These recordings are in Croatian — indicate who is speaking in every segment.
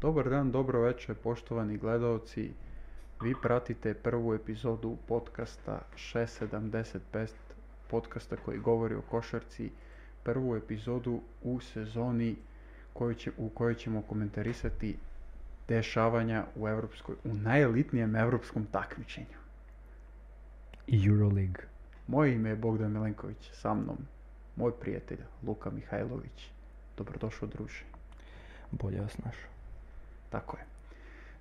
Speaker 1: Dobar dan, dobro večer, poštovani gledalci. Vi pratite prvu epizodu podcasta 675, podcasta koji govori o košarci. Prvu epizodu u sezoni koju će, u kojoj ćemo komentarisati dešavanja u, evropskoj, u najelitnijem evropskom takmičenju.
Speaker 2: i Euroleague.
Speaker 1: Moje ime je Bogdan Milenković, sa mnom moj prijatelj Luka Mihajlović. Dobrodošao druže.
Speaker 2: Bolje vas naš.
Speaker 1: Tako je.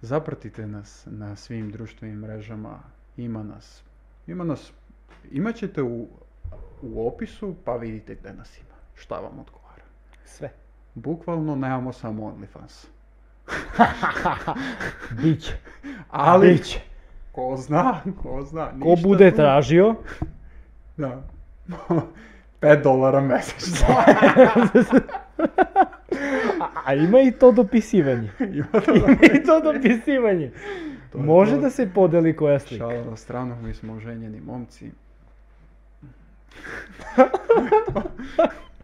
Speaker 1: Zapratite nas na svim društvenim mrežama. Ima nas. Ima nas. Imat ćete u, u opisu pa vidite gdje nas ima. Šta vam odgovara.
Speaker 2: Sve.
Speaker 1: Bukvalno nemamo samo OnlyFans.
Speaker 2: Bić.
Speaker 1: Ali,
Speaker 2: Bić.
Speaker 1: ko zna, ko zna.
Speaker 2: Ko
Speaker 1: ništa
Speaker 2: bude
Speaker 1: tu.
Speaker 2: tražio,
Speaker 1: Da. 5 dolara mjesečno.
Speaker 2: a, a ima i to dopisivanje.
Speaker 1: Ima
Speaker 2: Ima i to dopisivanje.
Speaker 1: To je
Speaker 2: Može
Speaker 1: to.
Speaker 2: da se podeli koja slika.
Speaker 1: Šala na stranu, mi smo ženjeni momci.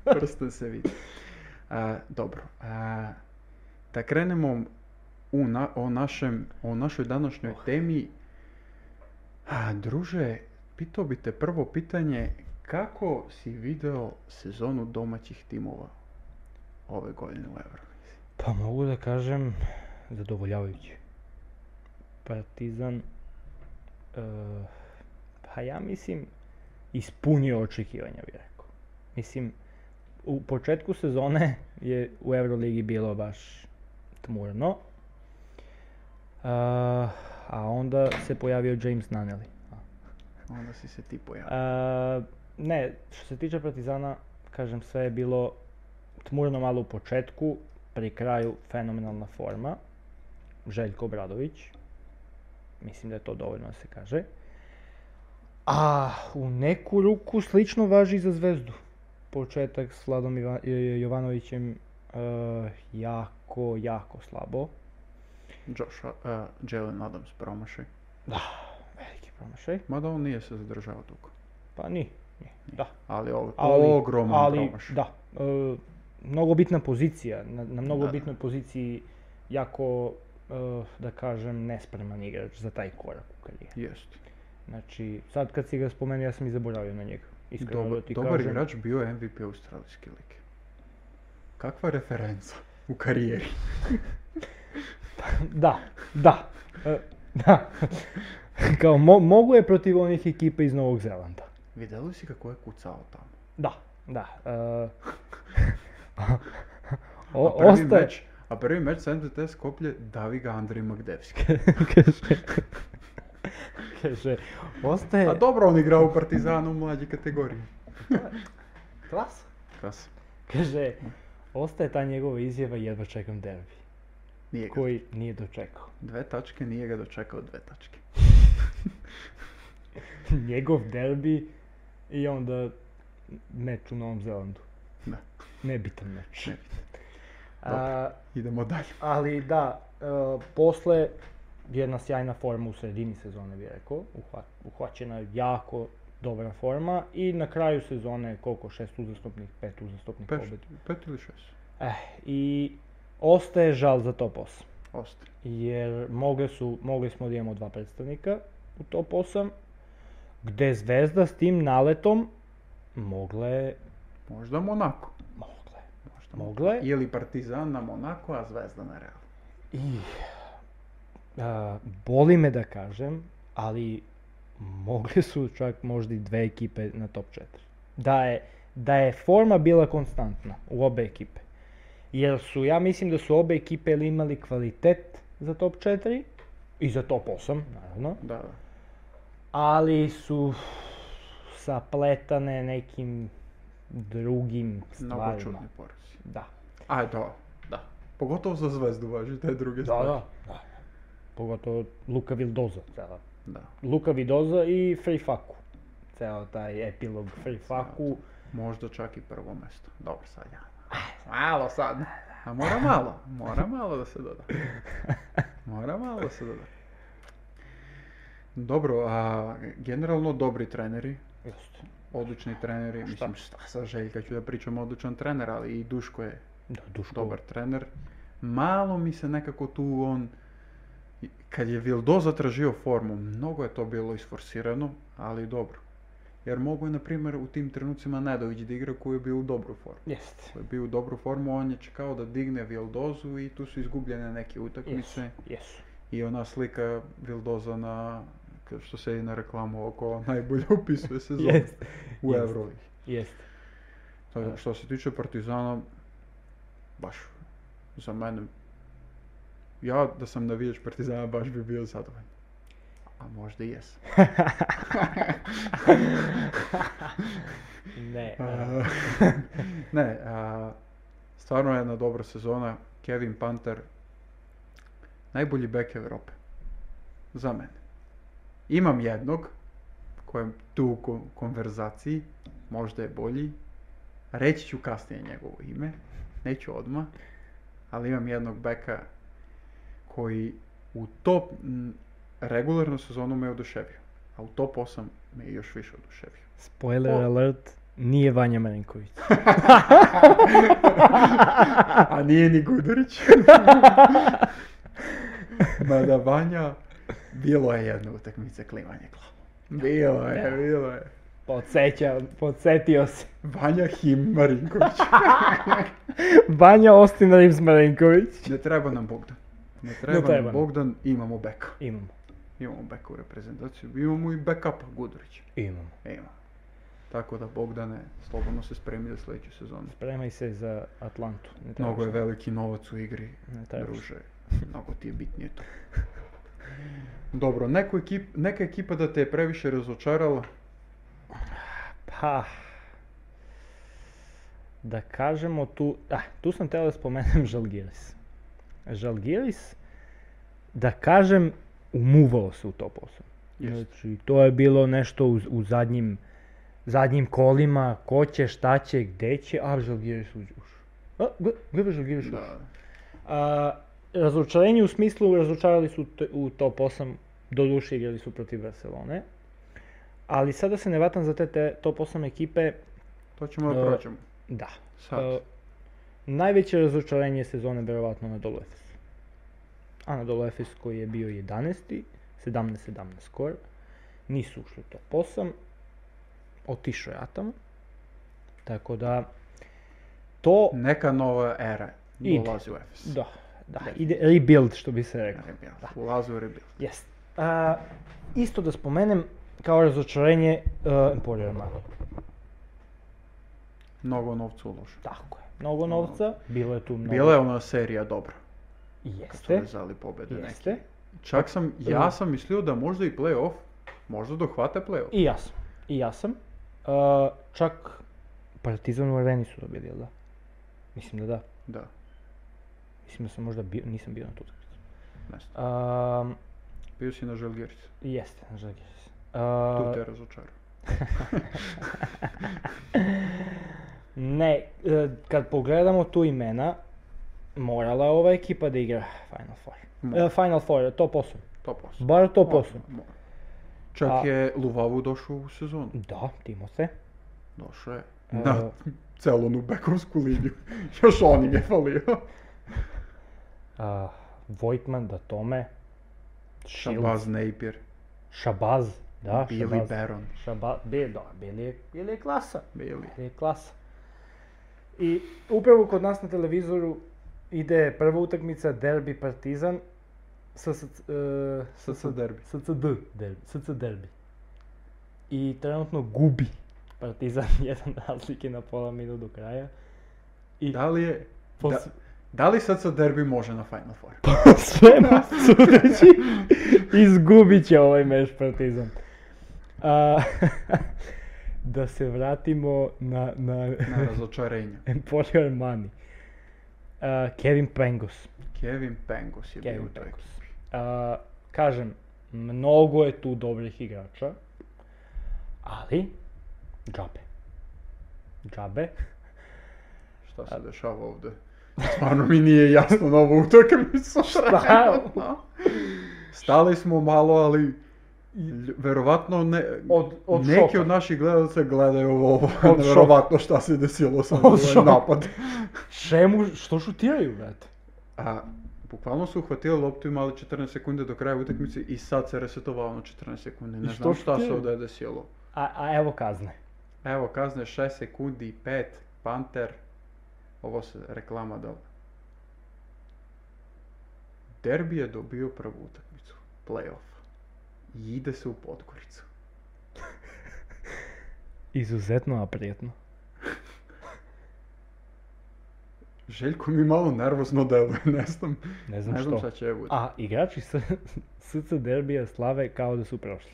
Speaker 1: Prsten se vidi. A, dobro. A, da krenemo u na- o, našem, o našoj današnjoj temi. A, druže, pitao bi te prvo pitanje kako si video sezonu domaćih timova ove godine u Euroligi?
Speaker 2: Pa mogu da kažem zadovoljavajući. Partizan, eh, pa ja mislim, ispunio očekivanja bi rekao. Mislim, u početku sezone je u Euroligi bilo baš tmurno. Eh, a onda se pojavio James Naneli.
Speaker 1: Onda si se ti pojavio.
Speaker 2: E, ne, što se tiče Partizana, kažem sve je bilo tmurno malo u početku, pri kraju fenomenalna forma. Željko Obradović, mislim da je to dovoljno da se kaže. A u neku ruku slično važi i za Zvezdu. Početak s Vladom Iva- Jo- Jovanovićem e, jako, jako slabo.
Speaker 1: Josh, a, Jalen Adams promašaj.
Speaker 2: Veliki promašaj.
Speaker 1: Mada on nije se zadržao dugo.
Speaker 2: Pa ni, ni, da.
Speaker 1: Ali, o,
Speaker 2: ali,
Speaker 1: ogroman
Speaker 2: ali,
Speaker 1: promašaj.
Speaker 2: Da, e, mnogo bitna pozicija, na, na mnogo
Speaker 1: Da, da.
Speaker 2: bitnoj poziciji jako, e, da kažem, nespreman igrač za taj korak u karijeri.
Speaker 1: Jest.
Speaker 2: Znači, sad kad si ga spomenuo, ja sam i zaboravio na njega. Iskreno
Speaker 1: Dobar,
Speaker 2: da ti
Speaker 1: dobar
Speaker 2: kažem.
Speaker 1: igrač bio je MVP australijske lige. Kakva referenca u karijeri.
Speaker 2: Da, da, e, da. Kao, mo- mogu je protiv onih ekipa iz Novog Zelanda.
Speaker 1: Vidjeli si kako je kucao tamo.
Speaker 2: Da, da. e, o-
Speaker 1: a, prvi
Speaker 2: ostaje-
Speaker 1: meč, a prvi meč sa MZT Skoplje davi ga Andrij Magdevski.
Speaker 2: kaže, kaže, ostaje...
Speaker 1: A dobro on igra u Partizanu u mlađoj kategoriji.
Speaker 2: Klasa.
Speaker 1: Kas.
Speaker 2: Kaže, ostaje ta njegova izjava jedva čekam derbi,
Speaker 1: Nije ga.
Speaker 2: koji nije dočekao.
Speaker 1: Dve tačke, nije ga dočekao dve tačke.
Speaker 2: Njegov derbi i onda meč u Novom Zelandu.
Speaker 1: Da.
Speaker 2: Nebitan meč.
Speaker 1: Nebitan.
Speaker 2: A,
Speaker 1: Idemo dalje.
Speaker 2: ali da, e, posle jedna sjajna forma u sredini sezone bih rekao, uhva- uhvaćena je jako dobra forma i na kraju sezone koliko, šest uzastopnih, pet uzastopnih
Speaker 1: Peš,
Speaker 2: pobjeda.
Speaker 1: pet ili šest.
Speaker 2: Eh, i ostaje žal za top 8.
Speaker 1: Ostaje.
Speaker 2: jer mogli, su, mogli smo da imamo dva predstavnika u top 8, gde Zvezda s tim naletom mogla je,
Speaker 1: Možda Monako.
Speaker 2: mogla je,
Speaker 1: Možda
Speaker 2: mogla je.
Speaker 1: Ili Partizan na Monako, a Zvezda na Real.
Speaker 2: I, a, boli me da kažem, ali mogli su čak možda i dve ekipe na top 4. Da je, da je forma bila konstantna u obe ekipe. Jer su, ja mislim da su obe ekipe ili imali kvalitet za top 4 i za top 8, naravno.
Speaker 1: Da, da.
Speaker 2: ali su sapletane nekim drugim
Speaker 1: Mnogo
Speaker 2: stvarima.
Speaker 1: čudni porezi.
Speaker 2: Da,
Speaker 1: A, da. Da. Pogotovo za zvezdu važi te druge
Speaker 2: da,
Speaker 1: stvari.
Speaker 2: da. da. Pogotovo Luka Vildoza, cela.
Speaker 1: da.
Speaker 2: Luka Vildoza i Free Faku. Ceo taj epilog Free Faku.
Speaker 1: Možda čak i prvo mesto. Dobro, sad ja. E, Malo sad. A mora malo. Mora malo da se doda. Mora malo da se doda. Dobro, a generalno dobri treneri,
Speaker 2: Jeste.
Speaker 1: odlični treneri, mislim šta sa Željka ću da pričam odličan trener, ali i Duško je
Speaker 2: Da, Duško.
Speaker 1: dobar trener. Malo mi se nekako tu on, kad je Vildo zatražio formu, mnogo je to bilo isforsirano, ali dobro. Jer mogu je, na primjer, u tim trenucima Nedović da igra koji je bio u dobru formu.
Speaker 2: Jest.
Speaker 1: Koji je bio u dobru formu, on je čekao da digne Vildozu i tu su izgubljene neke utakmice.
Speaker 2: Jesu. Jesu.
Speaker 1: I ona slika Vildoza na, k- što se i na reklamu oko najbolje upisuje sezonu
Speaker 2: Jest.
Speaker 1: u
Speaker 2: jest.
Speaker 1: Euroligi.
Speaker 2: Jest.
Speaker 1: Tako da,
Speaker 2: Da.
Speaker 1: Što se tiče Partizana, baš za mene, ja da sam navijač Partizana baš bi bio zadovoljan. A možda i jesam.
Speaker 2: Ne. a,
Speaker 1: A, E, ne, a, stvarno je jedna dobra sezona. Kevin Panter, najbolji bek Europe. Za mene. Imam jednog, kojem tu u kon- konverzaciji, možda je bolji. Reći ću kasnije njegovo ime, neću odmah, ali imam jednog beka koji u top m, regularnu sezonu me oduševio, a u top 8 me još više oduševio.
Speaker 2: Spoiler
Speaker 1: O.
Speaker 2: alert, nije Vanja Marinković.
Speaker 1: A nije ni Gudurić. Mada Vanja, bilo je jedna utakmica klimanje glavom. Bilo je, bilo je.
Speaker 2: Podsećam, podsetio se.
Speaker 1: Vanja Him Marinković.
Speaker 2: Vanja Austin Reeves Marinković.
Speaker 1: Ne treba nam Bogdan. Ne treba,
Speaker 2: treba
Speaker 1: nam
Speaker 2: nam.
Speaker 1: Bogdan, imamo beka.
Speaker 2: Imamo.
Speaker 1: Imamo beka u reprezentaciju, imamo i backupa Gudurić.
Speaker 2: Imamo.
Speaker 1: Imamo. Tako da Bogdane, slobodno se spremi za sljedeću sezonu.
Speaker 2: Spremaj se za Atlantu. Ne trebaš
Speaker 1: Mnogo je
Speaker 2: nam.
Speaker 1: veliki novac u igri.
Speaker 2: Ne trebaš.
Speaker 1: druže, mnogo ti je bitnije to. Dobro, neku ekip, neka ekipa da te je previše razočarala,
Speaker 2: Pa, da kažemo tu, ah, tu sam teo da spomenem Žalgiris. Žalgiris, da kažem, umuvao se u top 8.
Speaker 1: Jest.
Speaker 2: Znači, to je bilo nešto u, u zadnjim, zadnjim kolima, ko će, šta će, gde će, a Žalgiris uđe. ušao. A, gle- gle, Žalgiris ušao.
Speaker 1: da,
Speaker 2: A, razočarenje u smislu razočarali su t- u top 8, doduše igrali su protiv Barcelone. Ali sada se ne vatam za te, te top 8 ekipe,
Speaker 1: to ćemo da
Speaker 2: E,
Speaker 1: prođemo.
Speaker 2: da.
Speaker 1: Sad,
Speaker 2: E, najveće razočarenje sezone verovatno na Dolo Efes. Anadolu Efes koji je bio 11. 17-17 skor. Nisu ušli u top 8. Otišao je Atam. Tako da to
Speaker 1: neka nova era
Speaker 2: Ide.
Speaker 1: ulazi u Efes.
Speaker 2: da, da, ide rebuild što bi se reklo.
Speaker 1: Rebuild,
Speaker 2: Da.
Speaker 1: Ulazi u rebuild.
Speaker 2: Jest. A, isto da spomenem kao razočarenje uh, Emporio Armani.
Speaker 1: Mnogo novca uloženo.
Speaker 2: Tako je. Mnogo novca, bilo je tu mnogo.
Speaker 1: Bila je ona serija dobra, kad su
Speaker 2: Jeste,
Speaker 1: vezali pobjede neke.
Speaker 2: jeste.
Speaker 1: Čak sam,
Speaker 2: E.
Speaker 1: ja sam mislio da možda i playoff, možda dohvate playoff.
Speaker 2: I ja sam. I ja sam. A, čak Partizan u Areni su dobili, jel da? Mislim da da.
Speaker 1: Da,
Speaker 2: Mislim da sam možda bio, nisam bio na tu utakmicu.
Speaker 1: ne znam.
Speaker 2: Um,
Speaker 1: Bio si na Žalgiricu,
Speaker 2: jeste, na Žalgiris.
Speaker 1: tu
Speaker 2: A,
Speaker 1: te je razočarao.
Speaker 2: ne, e, kad pogledamo tu imena, morala je ova ekipa da igra Final Four.
Speaker 1: Mora.
Speaker 2: E, Final Four, top 8.
Speaker 1: To posao.
Speaker 2: Bar top 8.
Speaker 1: Mora. Čak
Speaker 2: A-
Speaker 1: je Luvavu došao u sezonu.
Speaker 2: Da, Timose.
Speaker 1: Došao je.
Speaker 2: E,
Speaker 1: Na celu onu bekovsku liniju. Još on im je falio.
Speaker 2: a, Vojtman, da tome.
Speaker 1: Shabazz Napier,
Speaker 2: Šabaz. Da,
Speaker 1: Billy
Speaker 2: Šabaz.
Speaker 1: Baron,
Speaker 2: Šabaz, Bi- da, Bili je, Bili je klasa.
Speaker 1: Billy.
Speaker 2: Bili je klasa. I upravo kod nas na televizoru ide prva utakmica Derbi Partizan. SSC, e,
Speaker 1: SC derbi.
Speaker 2: SCD derbi. SC derbi. I trenutno gubi Partizan jedan razlike na pola minut do kraja.
Speaker 1: Da li je...
Speaker 2: Po
Speaker 1: Da,
Speaker 2: s-
Speaker 1: da li sad sa derbi može na Final Four?
Speaker 2: Po svemu sudeći, izgubit će ovaj meč Partizan. A, da se vratimo na, na
Speaker 1: Na razočarenje.
Speaker 2: Emporio Armani. A, Kevin Pengos.
Speaker 1: Kevin Pengos je bio
Speaker 2: Kevin
Speaker 1: u toj
Speaker 2: Pengos.
Speaker 1: ekipi.
Speaker 2: A, kažem, mnogo je tu dobrih igrača, ali džabe. Džabe.
Speaker 1: Šta se dešava ovdje? Stvarno mi nije jasno na ovu utakmicu.
Speaker 2: Šta?
Speaker 1: Stali smo malo, ali lj- verovatno ne,
Speaker 2: Od- od
Speaker 1: neki
Speaker 2: šoka.
Speaker 1: od naših gledalaca gledaju ovo,
Speaker 2: šoka.
Speaker 1: ovo verovatno šta se desilo sa
Speaker 2: Od
Speaker 1: ovaj
Speaker 2: šoka.
Speaker 1: napad.
Speaker 2: Čemu, što šutiraju, brate?
Speaker 1: A bukvalno su uhvatili loptu imali 14 sekunde do kraja utakmice i sad se resetovalo na 14 sekundi. Ne
Speaker 2: I što
Speaker 1: znam šta
Speaker 2: ste-
Speaker 1: se ovdje desilo.
Speaker 2: A, a evo kazne.
Speaker 1: Pa Evo kazne 6 sekundi i 5, Panter. Ovo se reklama dala. Derbi je dobio prvu utakmicu, playoff. I ide se u Podgoricu.
Speaker 2: Izuzetno aprijetno.
Speaker 1: Željko mi malo nervozno deluje, ne znam.
Speaker 2: Ne znam
Speaker 1: Ne znam šta
Speaker 2: što.
Speaker 1: će biti.
Speaker 2: A igrači s- SC derbija slave kao da su prošli.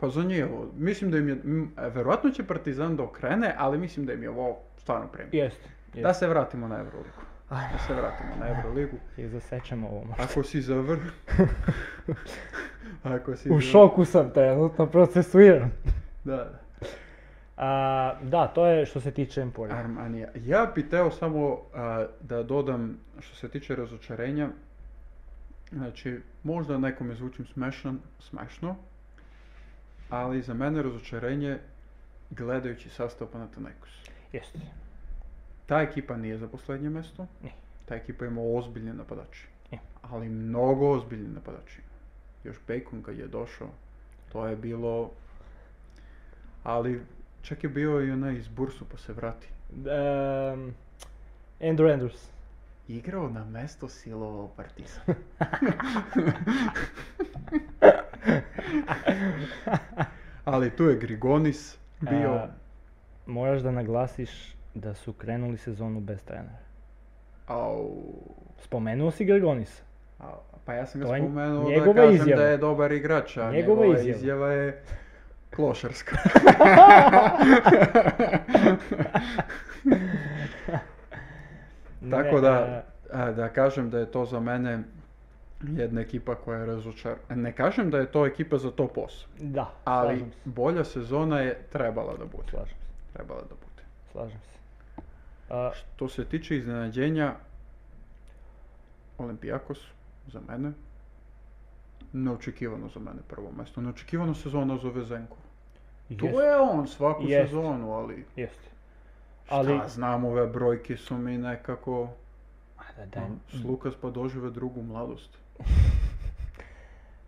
Speaker 1: Pa za nije ovo. Mislim da im je, m, e, verovatno će Partizan da okrene, ali mislim da im je ovo stvarno premijer.
Speaker 2: Jeste.
Speaker 1: Da se vratimo na Euroligu.
Speaker 2: Ajmo.
Speaker 1: Da se vratimo na Euroligu.
Speaker 2: I zasečemo ovo. možda.
Speaker 1: Ako si zavr... Ako si
Speaker 2: U
Speaker 1: za-
Speaker 2: šoku sam trenutno procesuiran.
Speaker 1: Da, da.
Speaker 2: A, da, to je što se tiče Emporija.
Speaker 1: Armanija. Ja bi teo samo a, da dodam što se tiče razočarenja. Znači, možda nekome zvučim smešan, smešno, ali za mene razočarenje gledajući sastav Panathinaikos.
Speaker 2: Jeste.
Speaker 1: Ta ekipa nije za poslednje mjesto.
Speaker 2: Ne.
Speaker 1: Ta ekipa ima ozbiljne napadače.
Speaker 2: Ne.
Speaker 1: Ali mnogo ozbiljne napadače. Još Bacon kad je došao, to je bilo... Ali čak je bio i onaj iz Bursu pa se vrati.
Speaker 2: Ehm, Andrew Andrews.
Speaker 1: Igrao na mesto silovao Partizan. Ali tu je Grigonis bio...
Speaker 2: A, moraš da naglasiš da su krenuli sezonu bez trenera.
Speaker 1: Au,
Speaker 2: Spomenuo si Gregonisa.
Speaker 1: au. Pa ja sam ga
Speaker 2: To je
Speaker 1: spomenuo da
Speaker 2: njegova
Speaker 1: kažem
Speaker 2: izjava.
Speaker 1: da je dobar igrač, a
Speaker 2: Njegova
Speaker 1: njegova,
Speaker 2: izjava.
Speaker 1: izjava. je klošarska. Tako da, a, da kažem da je to za mene jedna ekipa koja je razočar... Ne kažem da je to ekipa za to pos,
Speaker 2: Da,
Speaker 1: ali
Speaker 2: slažem se.
Speaker 1: bolja sezona je trebala da bude.
Speaker 2: Slažem se.
Speaker 1: Trebala da bude.
Speaker 2: Slažem se. A,
Speaker 1: Što se tiče iznenađenja, Olimpijakos za mene, neočekivano za mene prvo mjesto. Neočekivano sezona za Vezenko. To
Speaker 2: jest,
Speaker 1: je on svaku
Speaker 2: Jest.
Speaker 1: sezonu, ali
Speaker 2: Jeste.
Speaker 1: šta
Speaker 2: Ali,
Speaker 1: znam, ove brojke su mi nekako...
Speaker 2: a da, da,
Speaker 1: S Lukas pa dožive drugu mladost.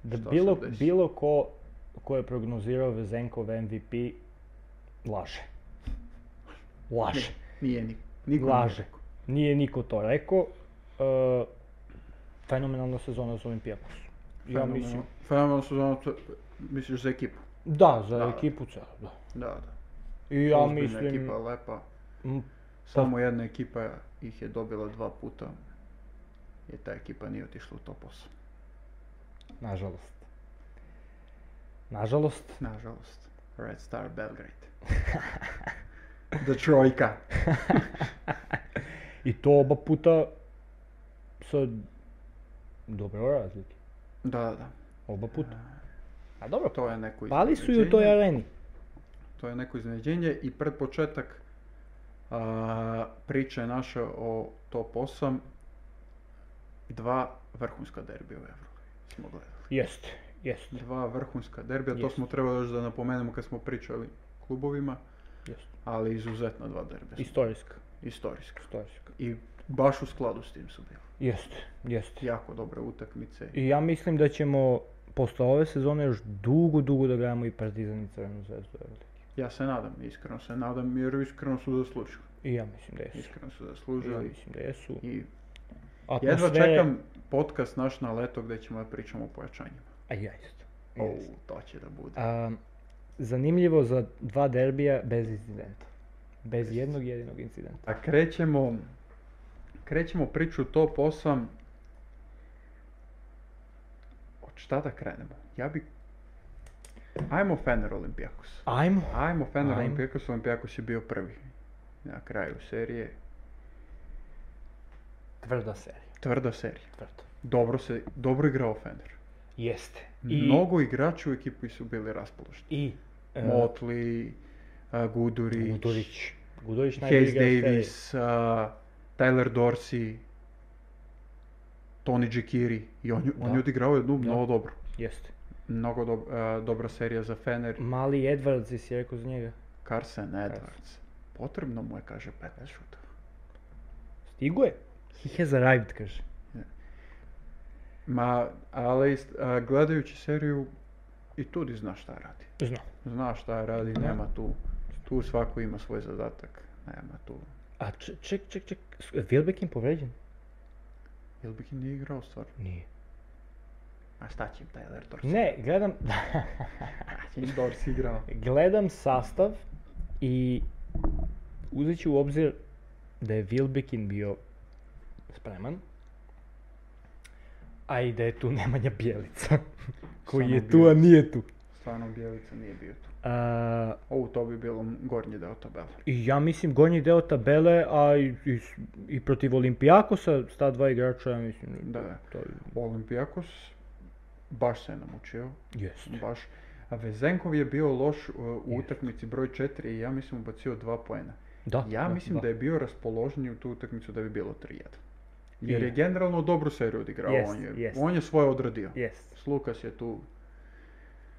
Speaker 2: da
Speaker 1: šta
Speaker 2: bilo,
Speaker 1: se desi?
Speaker 2: bilo ko ko je prognozirao Vezenkov MVP, laže. Laže.
Speaker 1: Nije ni, niko nije
Speaker 2: Laže.
Speaker 1: rekao.
Speaker 2: Nije niko to rekao. E, fenomenalna sezona za Olimpijakos. Ja
Speaker 1: Fenomenalno-
Speaker 2: mislim,
Speaker 1: Fenomenalno sezona, to- misliš za ekipu.
Speaker 2: da, za
Speaker 1: Da.
Speaker 2: ekipu celu, da.
Speaker 1: Da, da.
Speaker 2: I ja
Speaker 1: Ozbiljna
Speaker 2: mislim,
Speaker 1: ekipa, lepa.
Speaker 2: m,
Speaker 1: Samo jedna ekipa ih je dobila dva puta. Jer ta ekipa nije otišla u top 8.
Speaker 2: nažalost. Nažalost,
Speaker 1: Nažalost. Red Star Belgrade. The Trojka.
Speaker 2: i to oba puta sa dobro razlike.
Speaker 1: Da, da, da.
Speaker 2: Oba puta. A dobro,
Speaker 1: To je neko
Speaker 2: pali su i u toj
Speaker 1: iznenađenje.
Speaker 2: areni.
Speaker 1: To je neko iznenađenje i pred početak a, priče naše o top 8 dva vrhunska derbija u Euroligi smo gledali.
Speaker 2: Jeste, jeste,
Speaker 1: Dva vrhunska derbija, to
Speaker 2: Jest.
Speaker 1: smo trebali još da napomenemo kad smo pričali o klubovima,
Speaker 2: jeste.
Speaker 1: ali izuzetna dva derbija. su.
Speaker 2: Istorijska,
Speaker 1: Istorijska.
Speaker 2: istorijska.
Speaker 1: I baš u skladu s tim su bili.
Speaker 2: Jeste, jeste.
Speaker 1: Jako dobre utakmice.
Speaker 2: I ja mislim da ćemo posle ove sezone još dugo, dugo da gledamo i Partizan i Crvenu zvezdu. u Euroligi.
Speaker 1: Ja se nadam, iskreno se nadam jer iskreno su zaslužili.
Speaker 2: I ja mislim da jesu.
Speaker 1: Iskreno su
Speaker 2: I ja
Speaker 1: zaslužili.
Speaker 2: mislim da jesu.
Speaker 1: I jedva
Speaker 2: Atmosfere-
Speaker 1: čekam podcast naš na leto gdje ćemo da pričamo o pojačanjima.
Speaker 2: A ja isto.
Speaker 1: O,
Speaker 2: Jeste.
Speaker 1: to će da bude.
Speaker 2: A, zanimljivo za dva derbija bez incidenta. Bez jednog jedinog incidenta.
Speaker 1: A krećemo, krećemo priču top 8. Od šta da krenemo? Ja bi... Ajmo Fener Olimpijakos.
Speaker 2: Ajmo.
Speaker 1: Ajmo Fener
Speaker 2: Ajmo.
Speaker 1: Olimpijakos, Olimpijakos je bio prvi. Na kraju serije.
Speaker 2: Tvrda serija.
Speaker 1: Tvrda serija.
Speaker 2: Tvrda.
Speaker 1: Dobro, se, dobro igrao Fener.
Speaker 2: Jeste.
Speaker 1: Mnogo igrača u ekipi su bili raspoloženi.
Speaker 2: I... e,
Speaker 1: Motli, a, Gudurić,
Speaker 2: Gudurić. Gudurić najbolji
Speaker 1: Hayes
Speaker 2: igrač serije.
Speaker 1: Davis, a, Tyler Dorsey, Tony Jekiri i on, je- on
Speaker 2: Da.
Speaker 1: je odigrao jednu
Speaker 2: Da.
Speaker 1: mnogo dobro.
Speaker 2: Jeste.
Speaker 1: Mnogo dob- a, dobra serija za Fener.
Speaker 2: Mali Edwards, jesi rekao za njega?
Speaker 1: Carson Edwards. Potrebno mu je, kaže, 15 šutova.
Speaker 2: Stigo je. He has arrived, kaže.
Speaker 1: Ma, ali ist- a, gledajući seriju i tudi zna šta radi.
Speaker 2: Zna.
Speaker 1: Zna šta radi,
Speaker 2: Da.
Speaker 1: nema tu. Tu svako ima svoj zadatak. Nema tu.
Speaker 2: A č- ček, ček, ček, s- je Wilbekin povređen?
Speaker 1: Jel bi ki nije igrao stvar?
Speaker 2: Nije.
Speaker 1: A šta će im Tyler Dorsey?
Speaker 2: Ne, gledam,
Speaker 1: Šta će im Dorsey igrao?
Speaker 2: gledam sastav i uzet ću u obzir da je Wilbekin bio spreman, a i da je tu Nemanja Bjelica, koji
Speaker 1: Samo
Speaker 2: je tu, a
Speaker 1: Bjelica.
Speaker 2: nije tu.
Speaker 1: Stvarno Bjelica nije bio tu.
Speaker 2: A,
Speaker 1: Ovo to bi bilo gornji deo tabela.
Speaker 2: I ja mislim gornji deo tabele, a i, i, s- i protiv Olimpijakosa, s ta dva igrača, ja mislim,
Speaker 1: Da, da.
Speaker 2: to je,
Speaker 1: Olimpijakos baš se je namučio.
Speaker 2: jest.
Speaker 1: Baš. A Vezenkov je bio loš uh, u utakmici broj 4 i ja mislim ubacio dva poena.
Speaker 2: Da,
Speaker 1: Ja mislim da. je bio raspoloženiji u tu utakmicu da bi bilo 3-1. Jer je generalno dobru seriju odigrao.
Speaker 2: Jest,
Speaker 1: on, je,
Speaker 2: jest.
Speaker 1: on je svoje odradio.
Speaker 2: Jest,
Speaker 1: S Lukas je tu,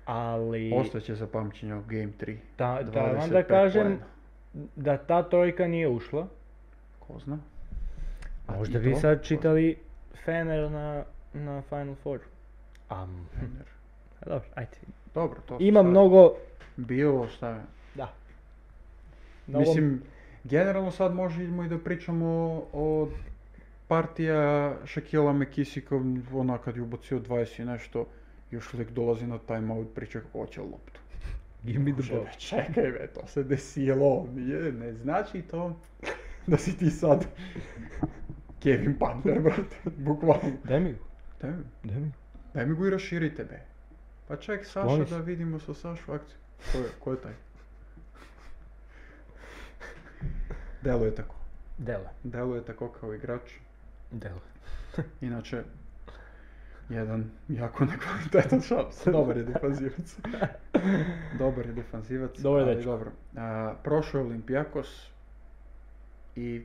Speaker 2: ali
Speaker 1: ostaće za pamćenje u Game 3.
Speaker 2: da, da
Speaker 1: 25
Speaker 2: vam da kažem
Speaker 1: poena.
Speaker 2: da ta trojka nije ušla.
Speaker 1: Ko zna? A
Speaker 2: Možda
Speaker 1: i
Speaker 2: bi
Speaker 1: to?
Speaker 2: sad
Speaker 1: Ko
Speaker 2: čitali Fener na, na Final Four. A,
Speaker 1: zna? Fener.
Speaker 2: dobro, ajde.
Speaker 1: Dobro, to su
Speaker 2: Ima
Speaker 1: sad
Speaker 2: mnogo,
Speaker 1: Bilo šta.
Speaker 2: da. Mnogo-
Speaker 1: Mislim, generalno sad možemo i da pričamo o partija Šakila Mekisikov, ona kad je ubacio 20 i nešto, još lik dolazi na timeout, priča kako hoće loptu.
Speaker 2: give me the
Speaker 1: Kaže,
Speaker 2: ball.
Speaker 1: "Be, Čekaj be, to se desilo, nije, ne znači to da si ti sad Kevin Panther, brate, bukvalno.
Speaker 2: Daj mi,
Speaker 1: Daj mi,
Speaker 2: daj mi.
Speaker 1: daj mi go i raširite, be. Pa ček, Saša,
Speaker 2: Skloni se.
Speaker 1: da vidimo sa Sašu akciju. Ko je, ko je taj? Delo je tako.
Speaker 2: Dele,
Speaker 1: Delo je tako kao igrač.
Speaker 2: dele.
Speaker 1: Inače, jedan jako nekvalitetan šaps. Dobar je defanzivac. Dobar je defanzivac.
Speaker 2: Dobar
Speaker 1: ali
Speaker 2: dečko.
Speaker 1: dobro. A, prošao je Olimpijakos i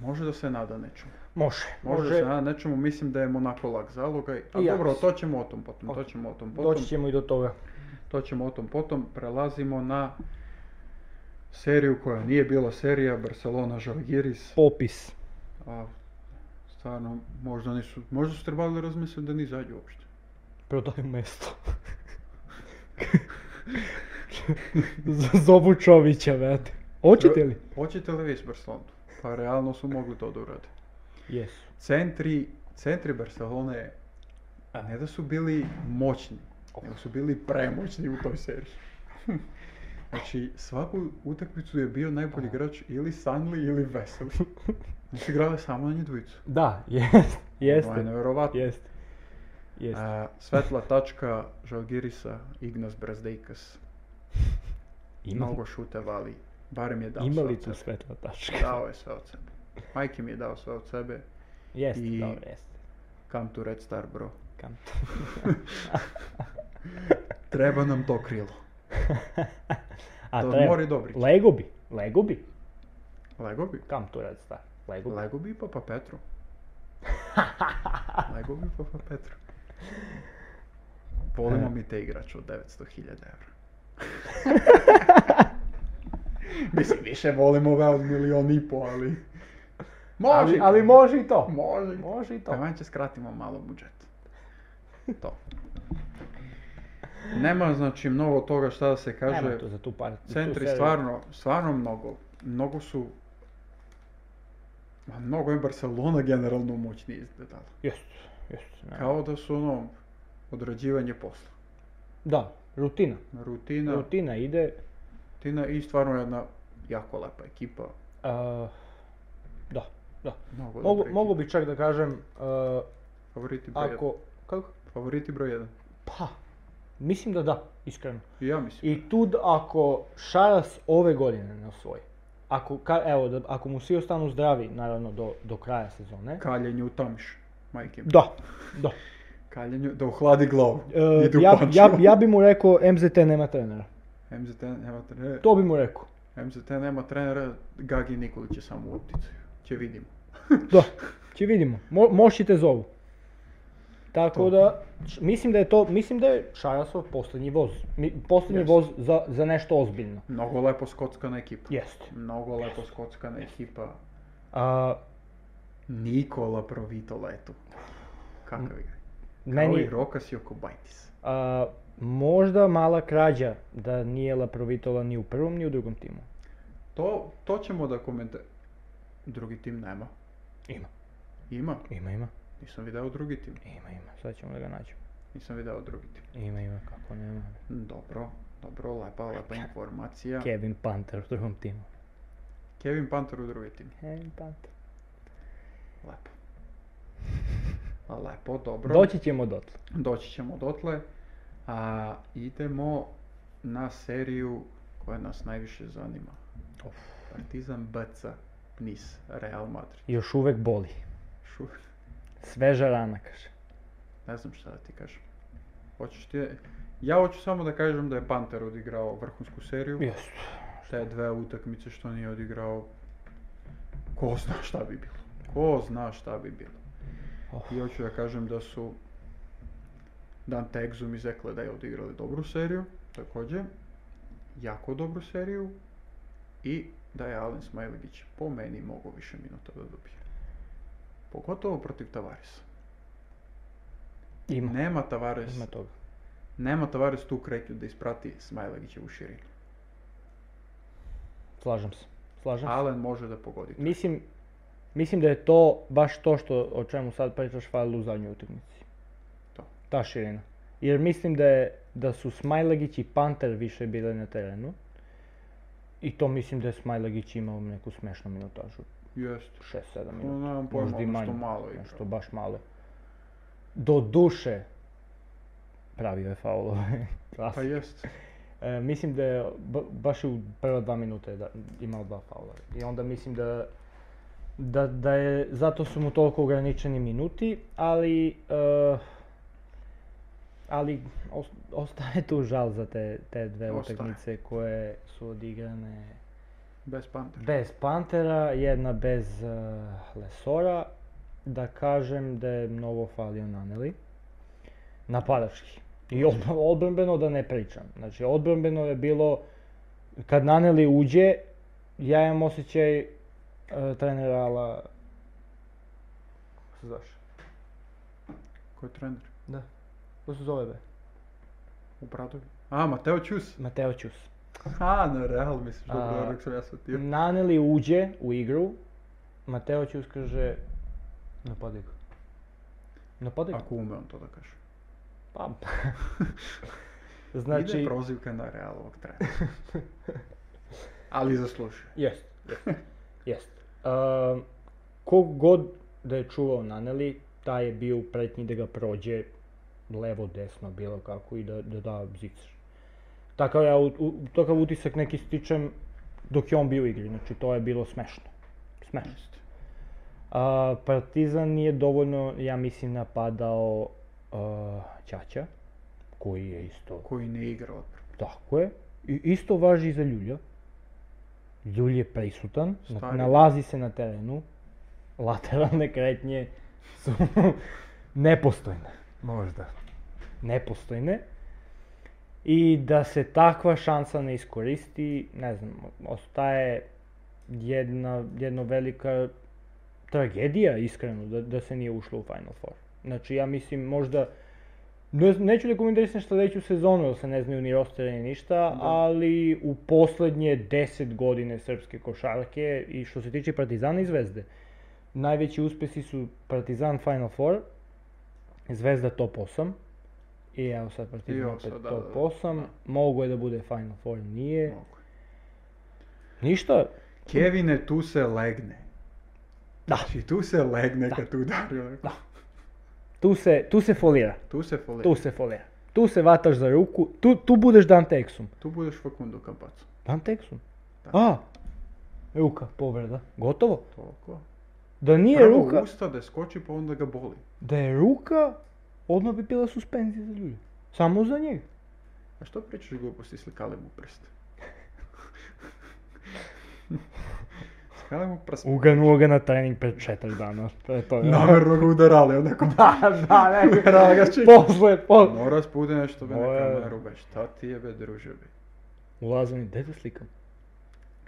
Speaker 1: može da se nada nečemu.
Speaker 2: Može,
Speaker 1: Može, da
Speaker 2: može.
Speaker 1: se nada nečemu. Mislim da je Monako lak zalogaj. A
Speaker 2: I ja
Speaker 1: dobro,
Speaker 2: mislim.
Speaker 1: to ćemo o tom potom. To
Speaker 2: Ok.
Speaker 1: ćemo o tom potom.
Speaker 2: Doći ćemo i do toga.
Speaker 1: To ćemo o tom potom. Prelazimo na seriju koja nije bila serija Barcelona Žalgiris.
Speaker 2: Popis.
Speaker 1: A, Pa, stvarno, možda nisu, možda su trebali razmisliti da ni zađu uopšte.
Speaker 2: Prodaju mesto. Z- Zovu Čovića, brate. Hoćete li?
Speaker 1: Hoćete li vi s Barcelonom? Pa realno su mogli to da urade.
Speaker 2: Jesu.
Speaker 1: Centri, centri Barcelone ne da su bili moćni, nego su bili premoćni u toj seriji. Znači, svaku utakmicu je bio najbolji igrač ili Sanli ili Veseli. Znači, igrali samo na njih dvojicu.
Speaker 2: Da, jest,
Speaker 1: To je
Speaker 2: jeste,
Speaker 1: nevjerovatno.
Speaker 2: jest. Jest.
Speaker 1: A, svetla tačka Žalgirisa, Ignas Brazdejkas.
Speaker 2: Ima,
Speaker 1: Mnogo šuteva, ali barem je dao
Speaker 2: ima
Speaker 1: sve
Speaker 2: li
Speaker 1: od
Speaker 2: tu
Speaker 1: sebe.
Speaker 2: svetla tačka?
Speaker 1: Dao je sve od sebe. Majke mi je dao sve od sebe.
Speaker 2: Jeste,
Speaker 1: I-
Speaker 2: dobro, jeste.
Speaker 1: Come to Red Star, bro.
Speaker 2: Kam to?
Speaker 1: Treba nam to krilo.
Speaker 2: A
Speaker 1: to
Speaker 2: treba-
Speaker 1: mori dobri.
Speaker 2: Lego bi, Lego bi.
Speaker 1: Lego bi.
Speaker 2: Kam to rad star? Lego bi.
Speaker 1: Lego bi pa pa Petru. Lego bi pa pa Petru. Volimo mi te igrače od 900.000 evra. Mislim, više volimo ove od milion i po, ali... Može!
Speaker 2: ali,
Speaker 1: i to.
Speaker 2: ali može i to.
Speaker 1: Može! i to.
Speaker 2: Može i to.
Speaker 1: Taman će skratimo malo budžet. To. Nema znači mnogo toga šta da se kaže.
Speaker 2: Nema tu za tu par. tu
Speaker 1: Centri
Speaker 2: seriju.
Speaker 1: stvarno, stvarno mnogo. Mnogo su... Ma, mnogo je Barcelona generalno moćnije izgledala.
Speaker 2: Jeste, jeste. nema.
Speaker 1: Kao da su ono odrađivanje posla.
Speaker 2: Da, rutina.
Speaker 1: Rutina,
Speaker 2: Rutina ide,
Speaker 1: rutina i stvarno jedna jako lepa ekipa.
Speaker 2: A, da, da.
Speaker 1: Mnogo
Speaker 2: Mogu,
Speaker 1: dobra
Speaker 2: mogu
Speaker 1: ekipa.
Speaker 2: bi čak da kažem, a,
Speaker 1: Favoriti broj jedan.
Speaker 2: ako, kako?
Speaker 1: Favoriti broj jedan.
Speaker 2: Pa, mislim da da, iskreno.
Speaker 1: I ja mislim.
Speaker 2: I tu d- ako Šaras ove godine ne osvoji, ako, ka- evo, da- ako mu svi ostanu zdravi, naravno, do, do kraja sezone.
Speaker 1: Kaljenje u tamiš. Majke mi.
Speaker 2: Da, da.
Speaker 1: Kaljenju, da ohladi glavu.
Speaker 2: E,
Speaker 1: Ide u
Speaker 2: ja,
Speaker 1: Pančevo.
Speaker 2: ja, ja bi mu rekao, MZT nema trenera.
Speaker 1: MZT nema trenera.
Speaker 2: To bi mu rekao.
Speaker 1: MZT nema trenera, Gagi Nikolić je samo u opticaju. Će vidimo.
Speaker 2: Da, će vidimo. Mo, moši te zovu.
Speaker 1: To.
Speaker 2: Tako da, š- mislim da je to, mislim da je Šarasov posljednji voz. Mi, posljednji
Speaker 1: Jeste.
Speaker 2: voz za, za nešto ozbiljno.
Speaker 1: Mnogo lepo skockana ekipa.
Speaker 2: Jeste.
Speaker 1: Mnogo lepo skockana ekipa.
Speaker 2: A,
Speaker 1: Nikola Provitola je tu. Kakav igra? Kao
Speaker 2: Meni,
Speaker 1: i Rokas Jokobaitis.
Speaker 2: a, možda mala krađa da nije Laprovitola ni u prvom ni u drugom timu.
Speaker 1: To, to ćemo da komentar... Drugi tim nema.
Speaker 2: Ima.
Speaker 1: Ima.
Speaker 2: Ima, ima.
Speaker 1: Nisam video drugi tim.
Speaker 2: Ima, ima. Sad ćemo da ga nađemo.
Speaker 1: Nisam video drugi tim.
Speaker 2: Ima, ima. Kako nema.
Speaker 1: Dobro, dobro, lepa, lepa informacija.
Speaker 2: Kevin Panter u drugom timu.
Speaker 1: Kevin Panter u drugi tim.
Speaker 2: Kevin Panter.
Speaker 1: Lepo. A, Lepo, dobro.
Speaker 2: Doći ćemo dotle.
Speaker 1: Doći ćemo dotle. A, idemo na seriju koja nas najviše zanima.
Speaker 2: Of.
Speaker 1: Partizan BC, Nis, Real Madrid.
Speaker 2: Još uvek boli.
Speaker 1: Šu,
Speaker 2: Sveža rana, kaže.
Speaker 1: ne znam šta da ti kažem. Hoćeš ti... Ja hoću samo da kažem da je Panter odigrao vrhunsku seriju.
Speaker 2: Jesu.
Speaker 1: te dve utakmice što nije odigrao, ko zna šta bi bilo. Ko zna šta bi bilo.
Speaker 2: Oh.
Speaker 1: I hoću da kažem da su Dante Exum i Zekle da je odigrali dobru seriju, također, jako dobru seriju i da je Alen Smajlegić po meni mogao više minuta da dobije. Pogotovo protiv Tavaresa.
Speaker 2: Ima.
Speaker 1: Nema Tavares,
Speaker 2: Ima toga.
Speaker 1: nema Tavares tu kretnju da isprati Smajlegića u širinu.
Speaker 2: Slažem se. Slažem se.
Speaker 1: Alen može da pogodi.
Speaker 2: Mislim, mislim da je to baš to što, o čemu sad pričaš falilo u zadnjoj utakmici.
Speaker 1: To.
Speaker 2: Ta širina. Jer mislim da, je, da su Smajlegić i Panter više bile na terenu. I to mislim da je Smajlegić imao neku smešnu minutažu.
Speaker 1: Jeste.
Speaker 2: 6-7
Speaker 1: No,
Speaker 2: minuta.
Speaker 1: nemam pojma,
Speaker 2: Možda i
Speaker 1: ono što
Speaker 2: manje,
Speaker 1: malo igrao.
Speaker 2: Nešto baš malo. Do duše pravio je faulove.
Speaker 1: Pa
Speaker 2: Klasika.
Speaker 1: jest.
Speaker 2: E, mislim da je ba- baš u prva dva minuta je da, imao dva faula. I onda mislim da, da, da je, zato su mu toliko ograničeni minuti, ali, e, ali os- ostaje tu žal za te, te dve
Speaker 1: Ostaje.
Speaker 2: utakmice koje su odigrane
Speaker 1: Bez Pantera.
Speaker 2: bez Pantera, jedna bez e, Lesora. Da kažem da je mnogo falio Naneli. Napadački. I ob- odbrambeno da ne pričam. Znači, odbrambeno je bilo... Kad Naneli uđe, ja imam osjećaj e, trenera Ala... Kako se zvaš?
Speaker 1: Ko je trener?
Speaker 2: Da. Kako se zove be?
Speaker 1: U Bradovi. A, Mateo Čus.
Speaker 2: Mateo Ćus.
Speaker 1: A, na Real misliš, dobro,
Speaker 2: A,
Speaker 1: dobro, sam ja shvatio.
Speaker 2: Naneli uđe u igru, Mateo Ćus kaže... Napadaj ga. Napadaj ga.
Speaker 1: Ako ume on to da kaže.
Speaker 2: Pa.
Speaker 1: Znači... Ide
Speaker 2: znači,
Speaker 1: prozivka na Realovog trenera. Ali zaslušio.
Speaker 2: jest, jest, jest. Ehm, kog god da je čuvao Naneli, taj je bio u pretnji da ga prođe levo, desno, bilo kako i da da, da zicer. Takav, ja, u- u- takav utisak neki stičem dok je on bio u igri, znači to je bilo smešno. Smešno.
Speaker 1: Jeste.
Speaker 2: A, Partizan nije dovoljno, ja mislim, napadao uh, Ćaća, koji je isto
Speaker 1: Koji ne igra odbranu.
Speaker 2: Tako je. I isto važi i za Ljulja. Ljulj je prisutan, na-
Speaker 1: Stari.
Speaker 2: nalazi se na terenu, lateralne kretnje su nepostojne. Možda. Nepostojne. I da se takva šansa ne iskoristi, ne znam, ostaje jedna, jedno velika tragedija, iskreno, da, da se nije ušlo u Final Four. Znači, ja mislim, možda, ne, z- neću da komentarisam sljedeću sezonu, jer se ne znaju ni rostere ni ništa, ali u posljednje 10 godine srpske košarke i što se tiče Partizana i Zvezde, najveći uspjesi su Partizan Final Four, Zvezda top 8, i evo sad
Speaker 1: I
Speaker 2: Partizan
Speaker 1: ovo
Speaker 2: opet
Speaker 1: sad, da, da,
Speaker 2: top
Speaker 1: da.
Speaker 2: 8, mogo je da bude Final Four, nije.
Speaker 1: Mogu.
Speaker 2: Ništa,
Speaker 1: Kevine, tu se legne.
Speaker 2: Da.
Speaker 1: Znači, tu se legne kad tu udari. onako.
Speaker 2: Da. tu se, tu se folira.
Speaker 1: Tu se foli.
Speaker 2: Tu se folira. Tu se vataš za ruku, tu, tu budeš Dante Exum.
Speaker 1: Tu budeš Facundo Campazzo.
Speaker 2: Dante Exum?
Speaker 1: Da.
Speaker 2: A, ruka, povreda. Gotovo.
Speaker 1: Toliko.
Speaker 2: Da nije
Speaker 1: Prvo
Speaker 2: ruka,
Speaker 1: usta da skoči pa onda ga boli.
Speaker 2: da je ruka, odmah bi bila suspenzija za ljudi. Samo za njega.
Speaker 1: A što pričaš gluposti, slikali mu prst. slikali mu prst.
Speaker 2: Uganuo ga na trening pred četiri dana. To je to.
Speaker 1: Namjerno ga udarali, onako
Speaker 2: da, da, ne.
Speaker 1: udarali ga čik.
Speaker 2: Posle, posle.
Speaker 1: Mora spude nešto be na
Speaker 2: Ovo je-
Speaker 1: kameru, be šta ti je be druže be.
Speaker 2: Ulaze mi, gde te slikam?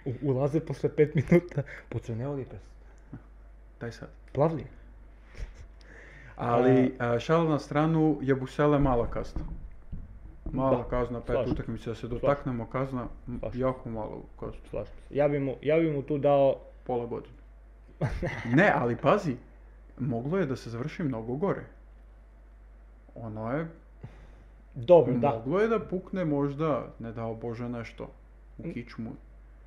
Speaker 2: U- ulaze posle pet minuta, pocrneo li je prst.
Speaker 1: Daj sad.
Speaker 2: Plavlije.
Speaker 1: Ali a, šal na stranu, Jabusele mala kazna. Mala
Speaker 2: Da,
Speaker 1: kazna, pet
Speaker 2: slažem.
Speaker 1: utakmica, da se
Speaker 2: Slažem.
Speaker 1: dotaknemo kazna, m,
Speaker 2: Slažem.
Speaker 1: jako malo kazna,
Speaker 2: Slažem se. Ja bi mu, ja bi mu tu dao
Speaker 1: pola godine. ne, ali pazi, moglo je da se završi mnogo gore. Ono je,
Speaker 2: dobro, da.
Speaker 1: moglo je da pukne možda, ne dao Bože nešto, u kičmu.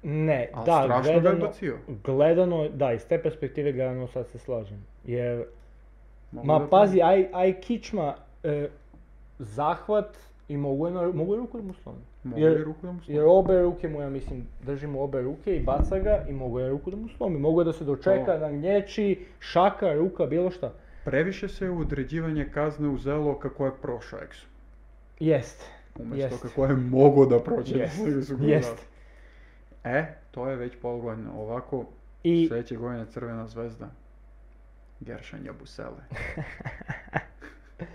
Speaker 2: Ne,
Speaker 1: Ali
Speaker 2: da,
Speaker 1: strašno ga je
Speaker 2: gledano,
Speaker 1: bacio.
Speaker 2: gledano, da, iz te perspektive gledano sad se slažem. Jer
Speaker 1: Moglo je
Speaker 2: Ma
Speaker 1: da
Speaker 2: pazi, aj, aj kičma, e, zahvat i mogu je, na- mogu je ruku da mu slomi.
Speaker 1: Moglo je
Speaker 2: Jer,
Speaker 1: ruku da mu slomi.
Speaker 2: jer obe ruke mu, ja mislim, držimo obe ruke i baca ga i mogu je ruku da mu slomi. Mogu je da se dočeka,
Speaker 1: To.
Speaker 2: nagnječi, šaka, ruka, bilo šta.
Speaker 1: Previše se u određivanje kazne uzelo kako je prošao Exum.
Speaker 2: Jest,
Speaker 1: Umjesto
Speaker 2: Jest.
Speaker 1: kako je mogao da prođe.
Speaker 2: jest,
Speaker 1: nego su ga dali.
Speaker 2: jest.
Speaker 1: E, to je već pol godine. Ovako,
Speaker 2: I
Speaker 1: sljedeće godine Crvena zvezda. Geršan Jabusele.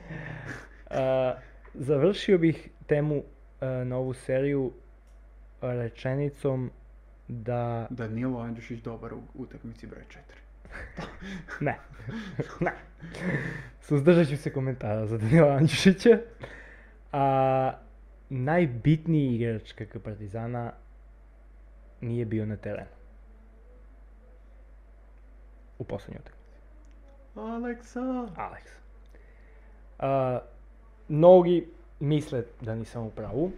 Speaker 2: e, završio bih temu e, na ovu seriju rečenicom da...
Speaker 1: Danilo Andjušić dobar u utakmici broj 4.
Speaker 2: Ne. ne. Suzdržat ću se komentara za Danila Andjušića. A najbitniji igrač KK Partizana nije bio na terenu. U posljednjoj utakmici.
Speaker 1: Aleksa!
Speaker 2: Alex. A, mnogi misle da nisam u pravu.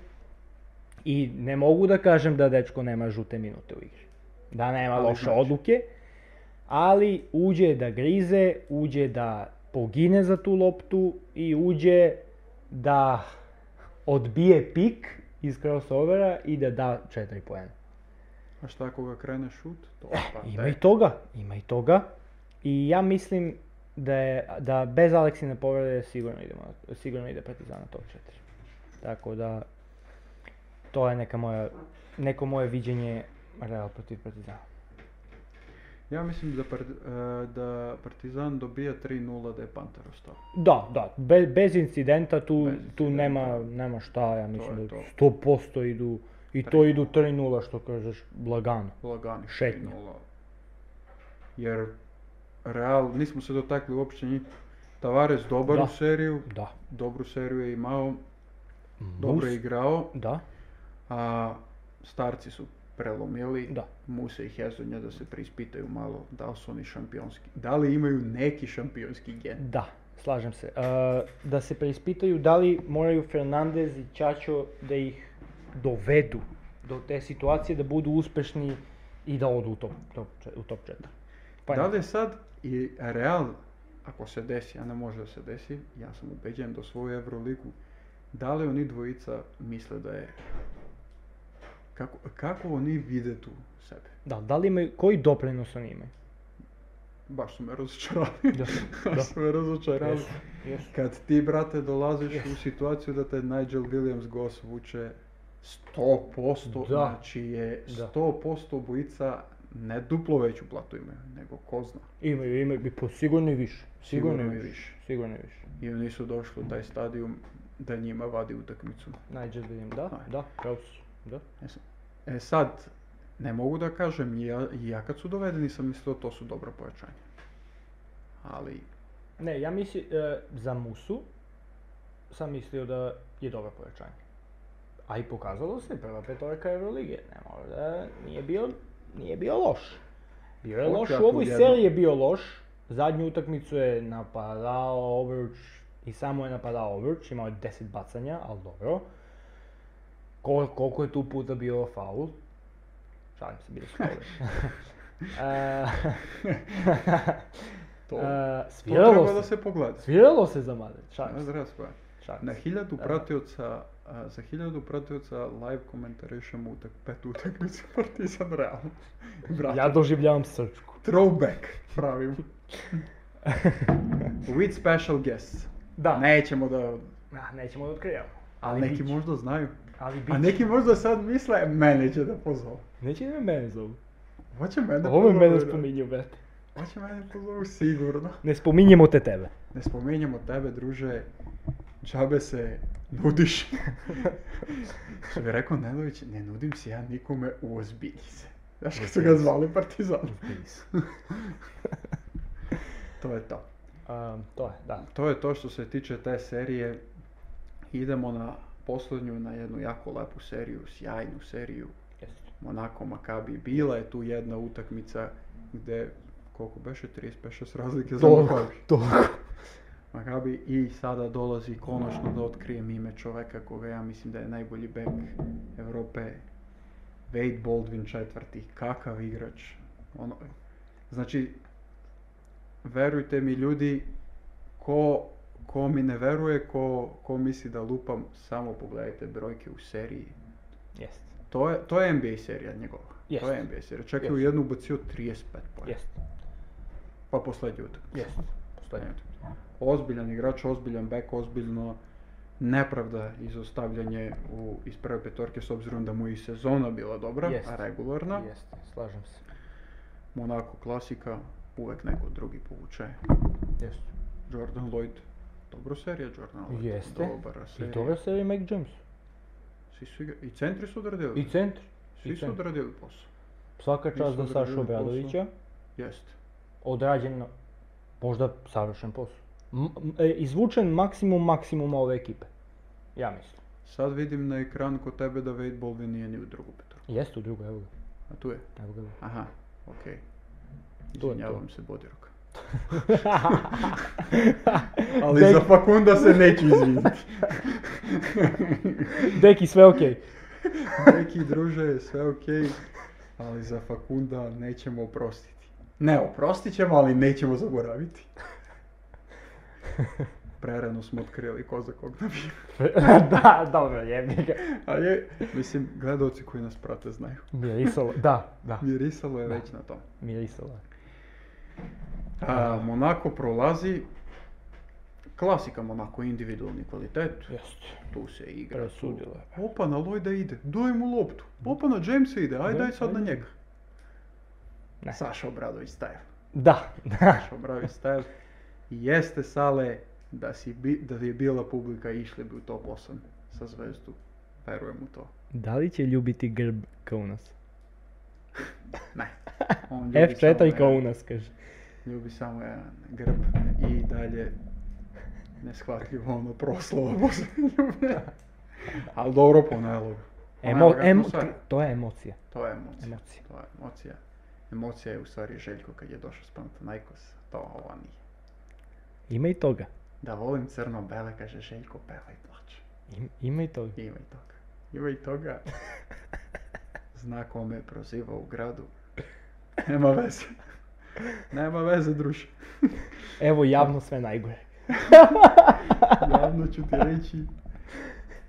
Speaker 2: I ne mogu da kažem da dečko nema žute minute u igri. Da nema
Speaker 1: Ali
Speaker 2: loše
Speaker 1: znači.
Speaker 2: odluke. Ali uđe da grize, uđe da pogine za tu loptu i uđe da odbije pik iz crossovera i da da 4 poena.
Speaker 1: A šta ako ga krene šut? To, pa,
Speaker 2: Eh, Ima
Speaker 1: te.
Speaker 2: i toga, ima i toga. I ja mislim da je, da bez Aleksine povrede sigurno, idemo, na- sigurno ide Partizana top 4. Tako da, to je neka moja, neko moje viđenje Real protiv Partizana.
Speaker 1: Ja mislim da, par- e, da Partizan dobija 3-0 da je Panter ostao.
Speaker 2: Da, da, be- bez incidenta tu,
Speaker 1: Bez
Speaker 2: tu
Speaker 1: incidenta.
Speaker 2: nema, nema šta, ja mislim
Speaker 1: je
Speaker 2: da
Speaker 1: to.
Speaker 2: 100% idu, i to idu 3-0 što kažeš, lagano.
Speaker 1: Lagani
Speaker 2: Šetnja.
Speaker 1: 3-0. Jer Real, nismo se dotakli uopće njih. Tavares dobar
Speaker 2: Da.
Speaker 1: u seriju,
Speaker 2: Da,
Speaker 1: dobru seriju je imao, dobro je
Speaker 2: Mus-
Speaker 1: igrao,
Speaker 2: da,
Speaker 1: a starci su prelomili.
Speaker 2: da.
Speaker 1: Muse i Hezonja da se preispitaju malo da li su oni šampionski. Da li imaju neki šampionski gen?
Speaker 2: Da, slažem se. E, da se preispitaju da li moraju Fernandez i Čačo da ih dovedu do te situacije da budu uspešni i da odu u top, top, čet- u top 4. Pa
Speaker 1: da
Speaker 2: ne.
Speaker 1: li je sad i Real, ako se desi, a ne može da se desi, ja sam ubeđen da svoju Euroligu, da li oni dvojica misle da je... Kako, kako oni vide tu sebe?
Speaker 2: Da, da li imaju, koji doprinos oni imaju?
Speaker 1: Baš su me razočarali.
Speaker 2: Da,
Speaker 1: Baš su me razočarali.
Speaker 2: Jesu, jesu.
Speaker 1: Kad ti, brate, dolaziš u
Speaker 2: Jesu.
Speaker 1: situaciju da te Nigel Williams Goss vuče 100%,
Speaker 2: Da.
Speaker 1: znači je
Speaker 2: Da.
Speaker 1: 100% obojica ne duplo veću platu imaju, nego ko zna.
Speaker 2: Imaju, imaju, bi po sigurno i više. Sigurno,
Speaker 1: Sigurno
Speaker 2: i
Speaker 1: i
Speaker 2: više.
Speaker 1: više.
Speaker 2: Sigurno i više.
Speaker 1: I oni su došli u taj stadijum da njima vadi utakmicu.
Speaker 2: Najđe vidim, da,
Speaker 1: Ajde.
Speaker 2: da, pravo si, da.
Speaker 1: E sad, ne mogu da kažem, ja, ja kad su dovedeni sam mislio to su dobro pojačanje. Ali,
Speaker 2: Ne, ja mislim, za Musu sam mislio da je dobro pojačanje. A i pokazalo se, prva petorka Euroligije, ne mora da, nije bio, nije bio loš. Bio je
Speaker 1: Hoće
Speaker 2: loš,
Speaker 1: ako
Speaker 2: u ovoj
Speaker 1: jedno-
Speaker 2: seriji je bio loš, zadnju utakmicu je napadao obruč i samo je napadao obruč, imao je 10 bacanja, ali dobro. Kol- koliko je tu puta bio faul? Šalim se, bili su faul.
Speaker 1: to,
Speaker 2: E,
Speaker 1: to treba
Speaker 2: sviralo
Speaker 1: da
Speaker 2: se.
Speaker 1: se pogleda.
Speaker 2: Sviralo se za mlade, šalim
Speaker 1: Ne
Speaker 2: se,
Speaker 1: zraspa.
Speaker 2: šalim
Speaker 1: Na
Speaker 2: se.
Speaker 1: hiljadu
Speaker 2: Da.
Speaker 1: pratioca, a, za hiljadu pratioca live komentarišemo utak, pet utakmica Partizan Real. Brate,
Speaker 2: Ja doživljavam srčku.
Speaker 1: throwback pravim. With special guests.
Speaker 2: Da.
Speaker 1: Nećemo da...
Speaker 2: Ah, nećemo da otkrivamo.
Speaker 1: Ali neki možda znaju.
Speaker 2: Ali
Speaker 1: A
Speaker 2: biće.
Speaker 1: neki možda sad misle, mene će da pozove.
Speaker 2: Neće da me mene zovu.
Speaker 1: Hoće mene
Speaker 2: Ovo je mene
Speaker 1: brate.
Speaker 2: spominjao, brate.
Speaker 1: Hoće mene pozovu sigurno.
Speaker 2: Ne spominjemo te tebe.
Speaker 1: Ne spominjemo tebe, druže. Džabe se nudiš. Što bi rekao Nedović, ne nudim se ja nikome, uozbilji se. Znaš kad su ga zvali Partizan. to je to.
Speaker 2: Ehm, to je, da.
Speaker 1: To je to što se tiče te serije. Idemo na posljednju, na jednu jako lepu seriju, sjajnu seriju.
Speaker 2: Jest.
Speaker 1: Monako Makabi. Bila je tu jedna utakmica gdje, koliko beše, 35-6 razlike za Makabi. Makabi i sada dolazi konačno da otkrijem ime čoveka koga ja mislim da je najbolji bek Europe. Wade Baldwin četvrti, kakav igrač. Ono, znači, verujte mi ljudi, ko, ko mi ne veruje, ko, ko misli da lupam, samo pogledajte brojke u seriji.
Speaker 2: Jest.
Speaker 1: To je, to je NBA serija njegova.
Speaker 2: Jest.
Speaker 1: To je NBA serija. Čak je u
Speaker 2: Jest.
Speaker 1: jednu ubacio 35 pojena.
Speaker 2: Jest.
Speaker 1: Pa poslednju utakmicu.
Speaker 2: Jest. Postoji.
Speaker 1: Eto. Ozbiljan igrač, ozbiljan bek, ozbiljno nepravda izostavljanje u, iz prve petorke s obzirom da mu je i sezona bila dobra,
Speaker 2: Jest.
Speaker 1: a regularna.
Speaker 2: Jest. Slažem se.
Speaker 1: Monako klasika, uvek neko drugi povuče.
Speaker 2: Jest.
Speaker 1: Jordan Lloyd, dobro serija Jordan Lloyd.
Speaker 2: Jeste.
Speaker 1: Dobra serija.
Speaker 2: I dobro se i Mike James.
Speaker 1: Svi su igra- I centri su odradili.
Speaker 2: I centar.
Speaker 1: Svi
Speaker 2: i
Speaker 1: su
Speaker 2: centri.
Speaker 1: odradili posao.
Speaker 2: Svaka čast
Speaker 1: Nisu
Speaker 2: za Sašu
Speaker 1: odradili posao.
Speaker 2: Obradovića.
Speaker 1: Jeste.
Speaker 2: Odrađen, možda savršen posao. M- m- e, izvučen maksimum maksimuma ove ekipe. Ja mislim.
Speaker 1: Sad vidim na ekran kod tebe da Wade Baldwin nije ni u drugu petorku.
Speaker 2: Jeste u drugoj, evo ga.
Speaker 1: A tu je.
Speaker 2: Evo ga.
Speaker 1: Aha, okej.
Speaker 2: to.
Speaker 1: Izvinjavam se Bodiroka.
Speaker 2: Ali Deki,
Speaker 1: Fakunda se neću izviniti.
Speaker 2: Deki, sve okej.
Speaker 1: Neki druže, sve okej, ali za Fakunda nećemo oprostiti. Ne, oprostit ćemo, ali nećemo zaboraviti. Prerano smo otkrili ko za kog navija.
Speaker 2: da, dobro, jebi ga.
Speaker 1: A je, mislim, gledalci koji nas prate znaju.
Speaker 2: Mirisalo, da, da,
Speaker 1: Mirisalo je već na tom.
Speaker 2: mirisalo.
Speaker 1: A, Monako prolazi, klasika Monako, individualni kvalitet,
Speaker 2: Jeste,
Speaker 1: tu se igra. tu-
Speaker 2: presudilo je.
Speaker 1: Opa na Lloyda ide, daj mu loptu. Opa na Jamesa ide, aj
Speaker 2: Ne,
Speaker 1: daj sad na
Speaker 2: ajde.
Speaker 1: njega.
Speaker 2: Ne.
Speaker 1: Saša Obradović staje.
Speaker 2: Da, da.
Speaker 1: Saša Obradović staje. Jeste sale da, si bi, da je bila publika išli bi u top 8 sa zvezdu. Verujem u to.
Speaker 2: Da li će ljubiti grb kao u nas?
Speaker 1: Ne. On ljubi samo
Speaker 2: F4 kao u
Speaker 1: jedan-
Speaker 2: nas, kaže.
Speaker 1: Ljubi samo jedan grb i dalje neshvatljivo ono proslova posljednje. Ali dobro ponelo ga.
Speaker 2: Emo,
Speaker 1: Ponelo ga
Speaker 2: emo,
Speaker 1: atmosfera.
Speaker 2: to je emocija.
Speaker 1: To je emocija.
Speaker 2: Emocija.
Speaker 1: To je emocija. Emocija je u stvari Željko kad je došao s Panathinaikos. To ovo nije.
Speaker 2: Ima i toga.
Speaker 1: Da volim crno-bele, kaže Željko, peva i plače.
Speaker 2: Im- ima i toga.
Speaker 1: Ima i toga. Ima i toga. Zna ko me je prozivao u gradu. Nema veze. Nema veze, druže.
Speaker 2: Evo javno sve najgore.
Speaker 1: Javno ću ti reći.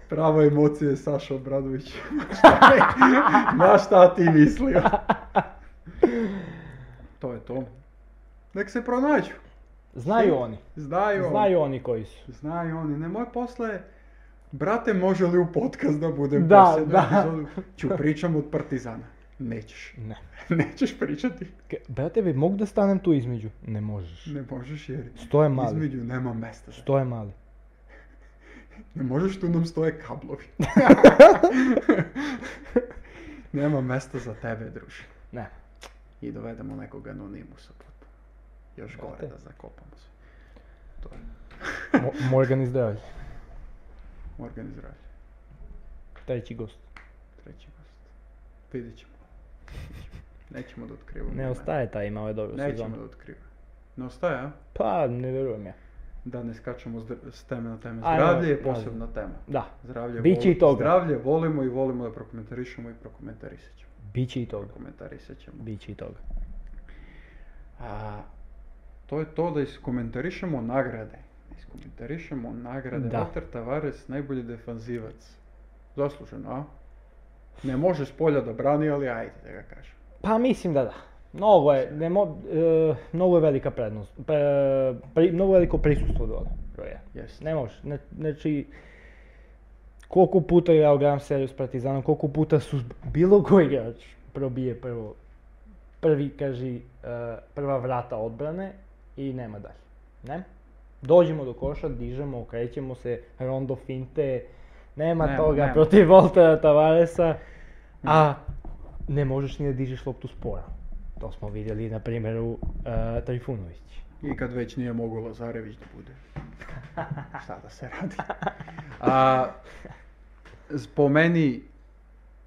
Speaker 1: Prava emocija je Saša Obradović. Šta je- Ma šta ti mislio? To je to. Nek se pronađu.
Speaker 2: Znaju
Speaker 1: Svi-
Speaker 2: oni.
Speaker 1: Znaju,
Speaker 2: Znaju oni koji su.
Speaker 1: Znaju oni. Ne, moj posle je, brate, može li u podcast da budem
Speaker 2: Da,
Speaker 1: posljednju
Speaker 2: da.
Speaker 1: epizodu? Ću pričam od Partizana. Nećeš.
Speaker 2: Ne.
Speaker 1: Nećeš pričati.
Speaker 2: K- Brate, bi mogu da stanem tu između? Ne možeš.
Speaker 1: Ne možeš jer
Speaker 2: Stoje mali.
Speaker 1: između nema mesta.
Speaker 2: Stoje mali.
Speaker 1: Ne možeš tu nam stoje kablovi. nema mesta za tebe, druže.
Speaker 2: Ne.
Speaker 1: I dovedemo nekog anonimusa potpuno. Još gore
Speaker 2: Brate.
Speaker 1: da zakopamo se. To je
Speaker 2: Mo- Morgan iz zdravlje.
Speaker 1: Morgan Izraelj.
Speaker 2: Treći gost.
Speaker 1: Treći gost. Vidjet ćemo. Nećemo da otkrivamo.
Speaker 2: Ne
Speaker 1: imena.
Speaker 2: ostaje taj imao je dobro
Speaker 1: Nećemo
Speaker 2: sezonu.
Speaker 1: da otkrivamo. Ne ostaje, a?
Speaker 2: Pa, ne vjerujem ja.
Speaker 1: Da ne skačemo s dr- s teme na teme.
Speaker 2: Ajmo,
Speaker 1: Zdravlje je
Speaker 2: ajde.
Speaker 1: posebna tema.
Speaker 2: Da,
Speaker 1: Zdravlje,
Speaker 2: Biće i toga.
Speaker 1: zdravlje volimo i volimo da prokomentarišemo i prokomentarisat ćemo.
Speaker 2: bit će i toga.
Speaker 1: Prokomentarisat ćemo.
Speaker 2: Bit će i toga.
Speaker 1: A, to je to da iskomentarišemo nagrade. Iskomentarišemo nagrade.
Speaker 2: Da.
Speaker 1: Walter Tavares, najbolji defanzivac. Zasluženo, a? Ne može s polja da brani, ali ajde da ga kažem.
Speaker 2: Pa mislim da da. Mnogo je, ne mo- e, mnogo je velika prednost, pe- pri- mnogo veliko prisustvo dole, broj jedan.
Speaker 1: Jeste.
Speaker 2: Ne može, ne, znači, koliko puta je igrao Grand Series s Partizanom, koliko puta su bilo koji igrač probije prvo, prvi, kaži, e, prva vrata odbrane i nema dalje, ne? Dođemo do koša, dižemo, okrećemo se, rondo finte, nema,
Speaker 1: Nema,
Speaker 2: toga
Speaker 1: nema.
Speaker 2: protiv Voltera Tavaresa, a ne možeš ni da dižeš loptu spora. To smo vidjeli na primjeru e, Trifunović.
Speaker 1: I kad već nije mogao Lazarević da bude. Šta da se radi. A, z- po meni,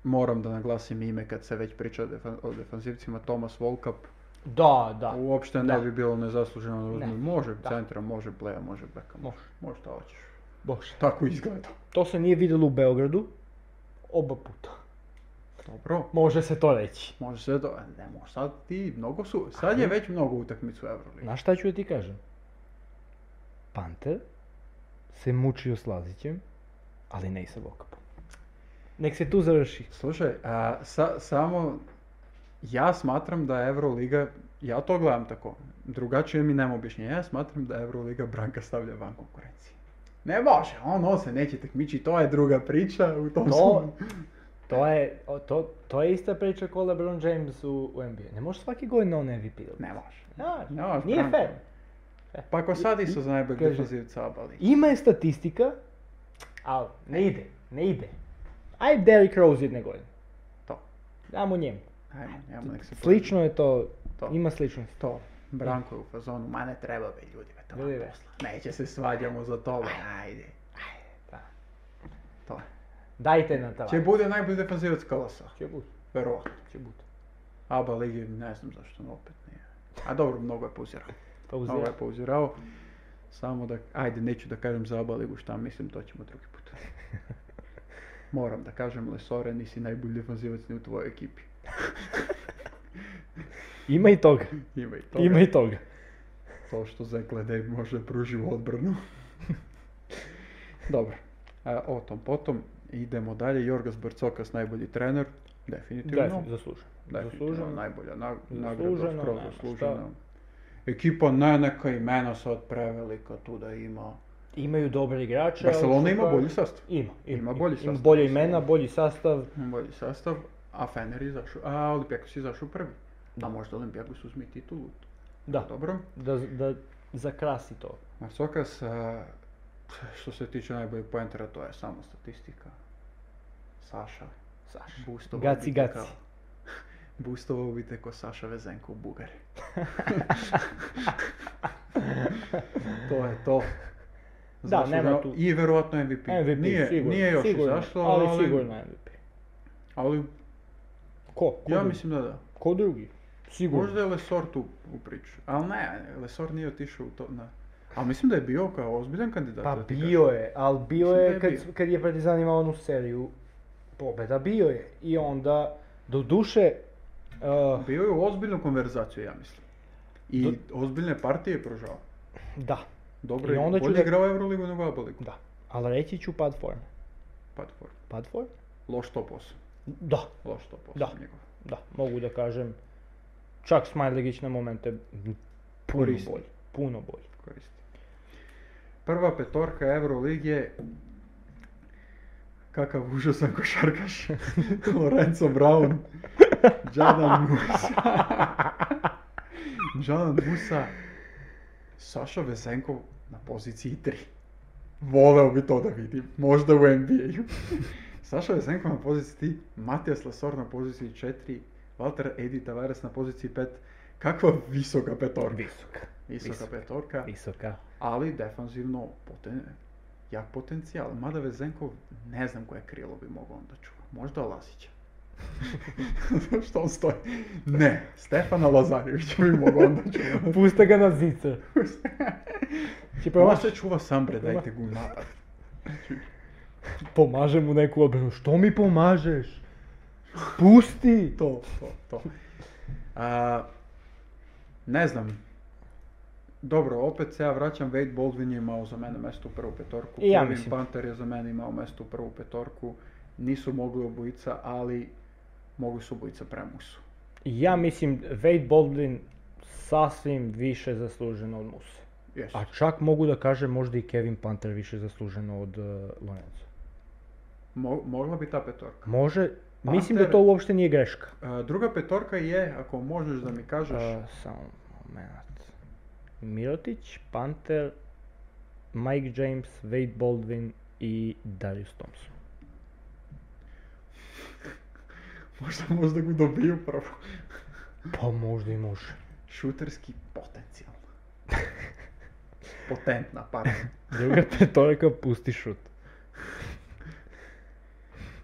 Speaker 1: moram da naglasim ime kad se već priča o, defan- o defanzivcima, Tomas Volkap.
Speaker 2: Da, da.
Speaker 1: Uopšte ne
Speaker 2: Pa, Da.
Speaker 1: bi bilo nezasluženo da uzme.
Speaker 2: Ne.
Speaker 1: Može
Speaker 2: Da.
Speaker 1: centra, može pleja, može beka.
Speaker 2: Može.
Speaker 1: Može šta hoćeš.
Speaker 2: Bože.
Speaker 1: Tako izgleda.
Speaker 2: To se nije vidjelo u Beogradu. Oba puta.
Speaker 1: Dobro.
Speaker 2: Može se to reći.
Speaker 1: Može se do... Ne može sad ti, mnogo su... Sad je već mnogo utakmicu u Euroligi.
Speaker 2: Znaš šta ću da ti kažem? Panter se mučio s Lazićem, ali ne i sa Vokapom. Nek se tu završi.
Speaker 1: Slušaj, a, sa- samo... Ja smatram da je Euroliga... Ja to gledam tako. Drugačije mi nema objašnjenja. Ja smatram da Euroliga Branka stavlja van konkurencije. Ne može, on, on se neće takmići, to je druga priča u tom
Speaker 2: To,
Speaker 1: smislu.
Speaker 2: to, je, o, to, to je ista priča ko LeBron James u, u NBA. Ne može svaki godine on MVP. ili?
Speaker 1: Ne može.
Speaker 2: Da,
Speaker 1: Ne može,
Speaker 2: nije
Speaker 1: Branko.
Speaker 2: fair.
Speaker 1: Pa ako sad isto za najboljeg
Speaker 2: E, Kaže.
Speaker 1: defanzivca Abali.
Speaker 2: Ima je statistika, ali ne ide, ne ide. Aj Derrick Rose jedne godine.
Speaker 1: To.
Speaker 2: Damo njemu.
Speaker 1: Ajmo, ajmo, nek se
Speaker 2: Slično je to,
Speaker 1: To.
Speaker 2: ima sličnost.
Speaker 1: To, Branko je u fazonu, ma ne treba be ljudi, be, to vam
Speaker 2: Ljudi, be.
Speaker 1: posla. Neće se svađamo za to, be, ajde.
Speaker 2: Da.
Speaker 1: To je.
Speaker 2: Dajte na tavan.
Speaker 1: Će bude najbolji defanzivac Kolosa,
Speaker 2: Će bud,
Speaker 1: verovatno.
Speaker 2: će bud.
Speaker 1: Aba Ligi, ne znam zašto, no opet nije. A dobro, mnogo je pouzirao.
Speaker 2: Pauze.
Speaker 1: Mnogo je pouzirao. Samo da, ajde, neću da kažem za Aba Ligu šta mislim, to ćemo drugi put. Moram da kažem, Lesore, nisi najbolji defanzivac ni u tvojoj ekipi.
Speaker 2: Ima i toga.
Speaker 1: Ima i to.
Speaker 2: Ima i toga.
Speaker 1: To što zaklade može pruži u odbranu. Dobro, e, o tom potom. Idemo dalje, Jorgas Barcokas najbolji trener, definitivno.
Speaker 2: Definitivno, zasluženo.
Speaker 1: Definitivno
Speaker 2: Zasluženo.
Speaker 1: najbolja na,
Speaker 2: Zasluženo,
Speaker 1: nagrada, skroz
Speaker 2: nema šta.
Speaker 1: zaslužena. Ekipa ne neka imena sad prevelika tu da ima.
Speaker 2: Imaju dobre igrače. ali
Speaker 1: Barcelona
Speaker 2: su
Speaker 1: ima
Speaker 2: kao-
Speaker 1: bolji sastav.
Speaker 2: Ima, ima,
Speaker 1: Ima bolji sastav.
Speaker 2: Ima bolje imena, bolji sastav.
Speaker 1: Ima bolji sastav, a Fener je izašao, a Olimpijakos je izašao prvi. A možda Olimpijakos uzme i titulu.
Speaker 2: Da,
Speaker 1: Dobro.
Speaker 2: da, da zakrasi to.
Speaker 1: Marsokas, a, eh, što se tiče najboljeg poentera, to je samo statistika. Saša,
Speaker 2: Saša.
Speaker 1: boostovao
Speaker 2: Gaci,
Speaker 1: bi te
Speaker 2: gaci.
Speaker 1: kao- boostovao bi te ko Saša Vezenko u Bugari. to je to.
Speaker 2: Da, nema
Speaker 1: Zasluženo.
Speaker 2: tu-
Speaker 1: I verovatno MVP.
Speaker 2: MVP,
Speaker 1: nije,
Speaker 2: sigurno.
Speaker 1: nije još
Speaker 2: sigurno,
Speaker 1: izašlo,
Speaker 2: ali, sigurno MVP.
Speaker 1: ali
Speaker 2: Ko? Ko
Speaker 1: ja
Speaker 2: drugi?
Speaker 1: mislim da da.
Speaker 2: Ko drugi? Sigurno.
Speaker 1: Možda je Lesor tu u priču. Ali ne, Lesor nije otišao u to. Ne. Ali mislim da je bio kao ozbiljan kandidat.
Speaker 2: Pa
Speaker 1: da ti kažem.
Speaker 2: bio je, ali bio
Speaker 1: Mislim da
Speaker 2: je
Speaker 1: je
Speaker 2: kad,
Speaker 1: bio.
Speaker 2: kad je Partizan imao onu seriju pobjeda, bio je. I onda, do duše, uh,
Speaker 1: Bio je u ozbiljnu konverzaciju, ja mislim. I ozbiljne partije je pružao.
Speaker 2: da,
Speaker 1: Dobro
Speaker 2: I
Speaker 1: je,
Speaker 2: onda ću
Speaker 1: bolje
Speaker 2: da-
Speaker 1: igrao Euroligu nego Abaligu.
Speaker 2: da. Ali reći ću pad forme.
Speaker 1: Pad form.
Speaker 2: Pad forme?
Speaker 1: Loš top 8.
Speaker 2: Da,
Speaker 1: Loš top 8
Speaker 2: Da.
Speaker 1: njegov.
Speaker 2: da, mogu da kažem. Čak Smajlegić na momente puno
Speaker 1: Koristi.
Speaker 2: bolji, puno bolji.
Speaker 1: Koristi. Prva petorka Euroligije. Kakav užasan košarkaš. Lorenzo Brown. Jadon Musa. Jadon Musa. Saša Vezenkov na poziciji 3. Voleo bi to da vidim. Možda u NBA-u. Saša Vezenkov na poziciji 3. Matijas Lesor na poziciji 4. Walter Edi Tavares na poziciji 5. Kakva visoka petorka.
Speaker 2: Visoka.
Speaker 1: Visoka,
Speaker 2: Visoka.
Speaker 1: petorka,
Speaker 2: Visoka.
Speaker 1: ali defanzivno poten, jak potencijal. Mada Vezenkov ne znam koje krilo bi mogao onda čuva. Možda Lasića. Što on stoji? Ne, Stefana Lazarevića bi mogao onda čuva.
Speaker 2: Pusta ga na zice. Će
Speaker 1: Pa on
Speaker 2: promaš,
Speaker 1: se čuva sam bre, dajte ga u napad.
Speaker 2: pomaže mu neku obranu. Što mi pomažeš? Pusti!
Speaker 1: To, to, to. A, ne znam. Dobro, opet se ja vraćam, Wade Baldwin je imao za mene mesto u prvu petorku.
Speaker 2: I ja
Speaker 1: Kevin
Speaker 2: mislim.
Speaker 1: Panther je za mene imao mesto u prvu petorku. Nisu mogli obojica, ali mogli su obojica premusu.
Speaker 2: Ja mislim Wade Baldwin sasvim više zasluženo od Muse.
Speaker 1: Jesu.
Speaker 2: A čak mogu da kažem možda i Kevin Panther više zasluženo od uh, Lorenza.
Speaker 1: Mo- mogla bi ta petorka.
Speaker 2: Može, mislim da
Speaker 1: Panther-
Speaker 2: to uopšte nije greška.
Speaker 1: A, druga petorka je, ako možeš da mi kažeš,
Speaker 2: Uh, samo moment. Mirotić, Panther, Mike James, Wade Baldwin i Darius Thompson.
Speaker 1: možda, možda ga dobiju prvo.
Speaker 2: Pa možda i može.
Speaker 1: Šuterski potencijal. potentna, pardon.
Speaker 2: Druga petorka, pusti šut.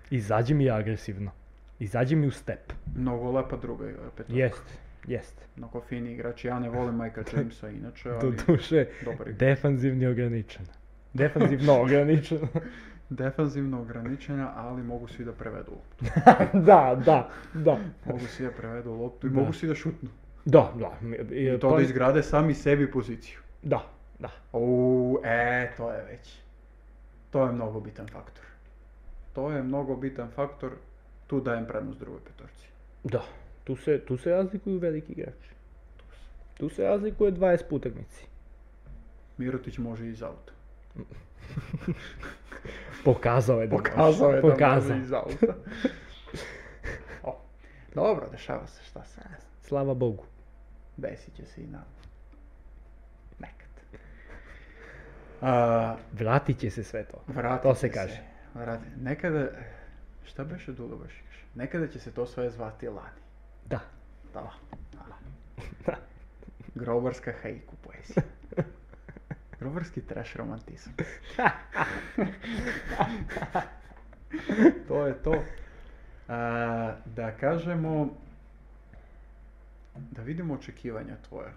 Speaker 2: Izađi mi agresivno. Izađi mi u step.
Speaker 1: Mnogo lepa druga e, petorka.
Speaker 2: Jest, jest.
Speaker 1: Mnogo fini igrač. Ja ne volim Michael Jamesa inače, ali
Speaker 2: Doduše,
Speaker 1: dobar igrač.
Speaker 2: defanzivni ograničen. Defanzivno ograničen.
Speaker 1: Defanzivno ograničenja, ali mogu svi da prevedu loptu.
Speaker 2: da, da, da.
Speaker 1: Mogu svi da prevedu loptu i
Speaker 2: Da. pa-
Speaker 1: mogu svi da šutnu.
Speaker 2: Da, da. mi- i-
Speaker 1: I to da izgrade sami sebi poziciju.
Speaker 2: Da, da.
Speaker 1: U, e, to je već. To je mnogo bitan faktor. To je mnogo bitan faktor. Tu dajem prednost drugoj petorci.
Speaker 2: Da, tu se, tu se razlikuju veliki igrači. Tu se razlikuje 20 utakmici.
Speaker 1: Mirotić može i iz auta.
Speaker 2: Pokazao je da može.
Speaker 1: Pokazao je da
Speaker 2: Pokazao.
Speaker 1: može iz auta. O, dobro, dešava se šta se.
Speaker 2: Slava Bogu.
Speaker 1: Desit će se i na... Nekad. A,
Speaker 2: Vratit će se sve to.
Speaker 1: vratit
Speaker 2: To se
Speaker 1: će
Speaker 2: kaže.
Speaker 1: Vrati- Nekada... Šta beše Dulobašić? Nekada će se to sve zvati lani.
Speaker 2: Da.
Speaker 1: Da. da. Grobarska haiku poezija. Grobarski trash romantizam. to je to. A, da kažemo... Da vidimo očekivanja tvoja.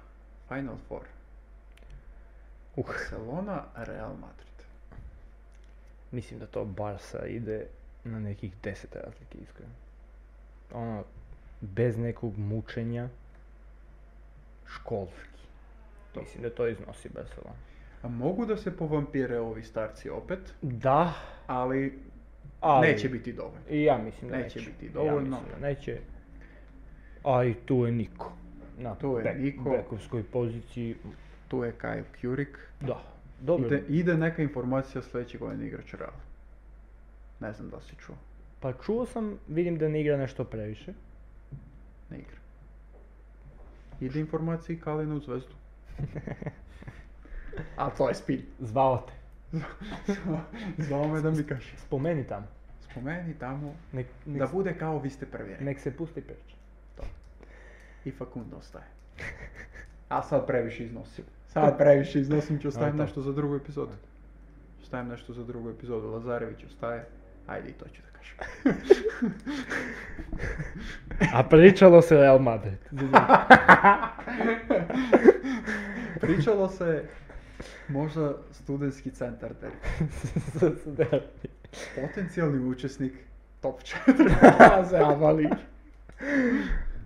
Speaker 1: Final Four.
Speaker 2: Uh,
Speaker 1: Barcelona, Real Madrid.
Speaker 2: mislim da to Barsa ide na nekih 10 razlike iskreno. Ono, bez nekog mučenja školski. Mislim da to iznosi Barcelona.
Speaker 1: A mogu da se povampire ovi starci opet,
Speaker 2: Da,
Speaker 1: ali,
Speaker 2: ali...
Speaker 1: neće biti dovoljno.
Speaker 2: I ja mislim da
Speaker 1: Neće
Speaker 2: neće.
Speaker 1: biti
Speaker 2: I ja
Speaker 1: dovoljno.
Speaker 2: mislim da neće. A i tu je Niko. Na
Speaker 1: Tu je
Speaker 2: bek-
Speaker 1: Niko.
Speaker 2: bekovskoj poziciji,
Speaker 1: Tu je Kyle Kjurik.
Speaker 2: da. Dobro,
Speaker 1: Ide, ide neka informacija sljedeće godine igrač Real. Ne znam da li si čuo.
Speaker 2: pa čuo sam, vidim da ne igra nešto previše.
Speaker 1: Ne igra. Ide informacija i Kalina u zvezdu. A to je spin.
Speaker 2: Zvao te,
Speaker 1: Zvao me da mi kaže.
Speaker 2: spomeni tamo.
Speaker 1: Spomeni tamo
Speaker 2: Nek, nek,
Speaker 1: da bude kao vi ste prvi. rekli.
Speaker 2: nek se pusti priča.
Speaker 1: I Facundo ostaje. A sad previše iznosim. Sad previše iznosim ću ostavim
Speaker 2: Ajde to.
Speaker 1: nešto za drugu epizodu. Ostavim nešto za drugu epizodu. Lazarević ostaje. Ajde i to ću da kažem.
Speaker 2: A pričalo se Real Madrid.
Speaker 1: Pričalo se možda studentski centar da je potencijalni učesnik top 4 faze ABA lige.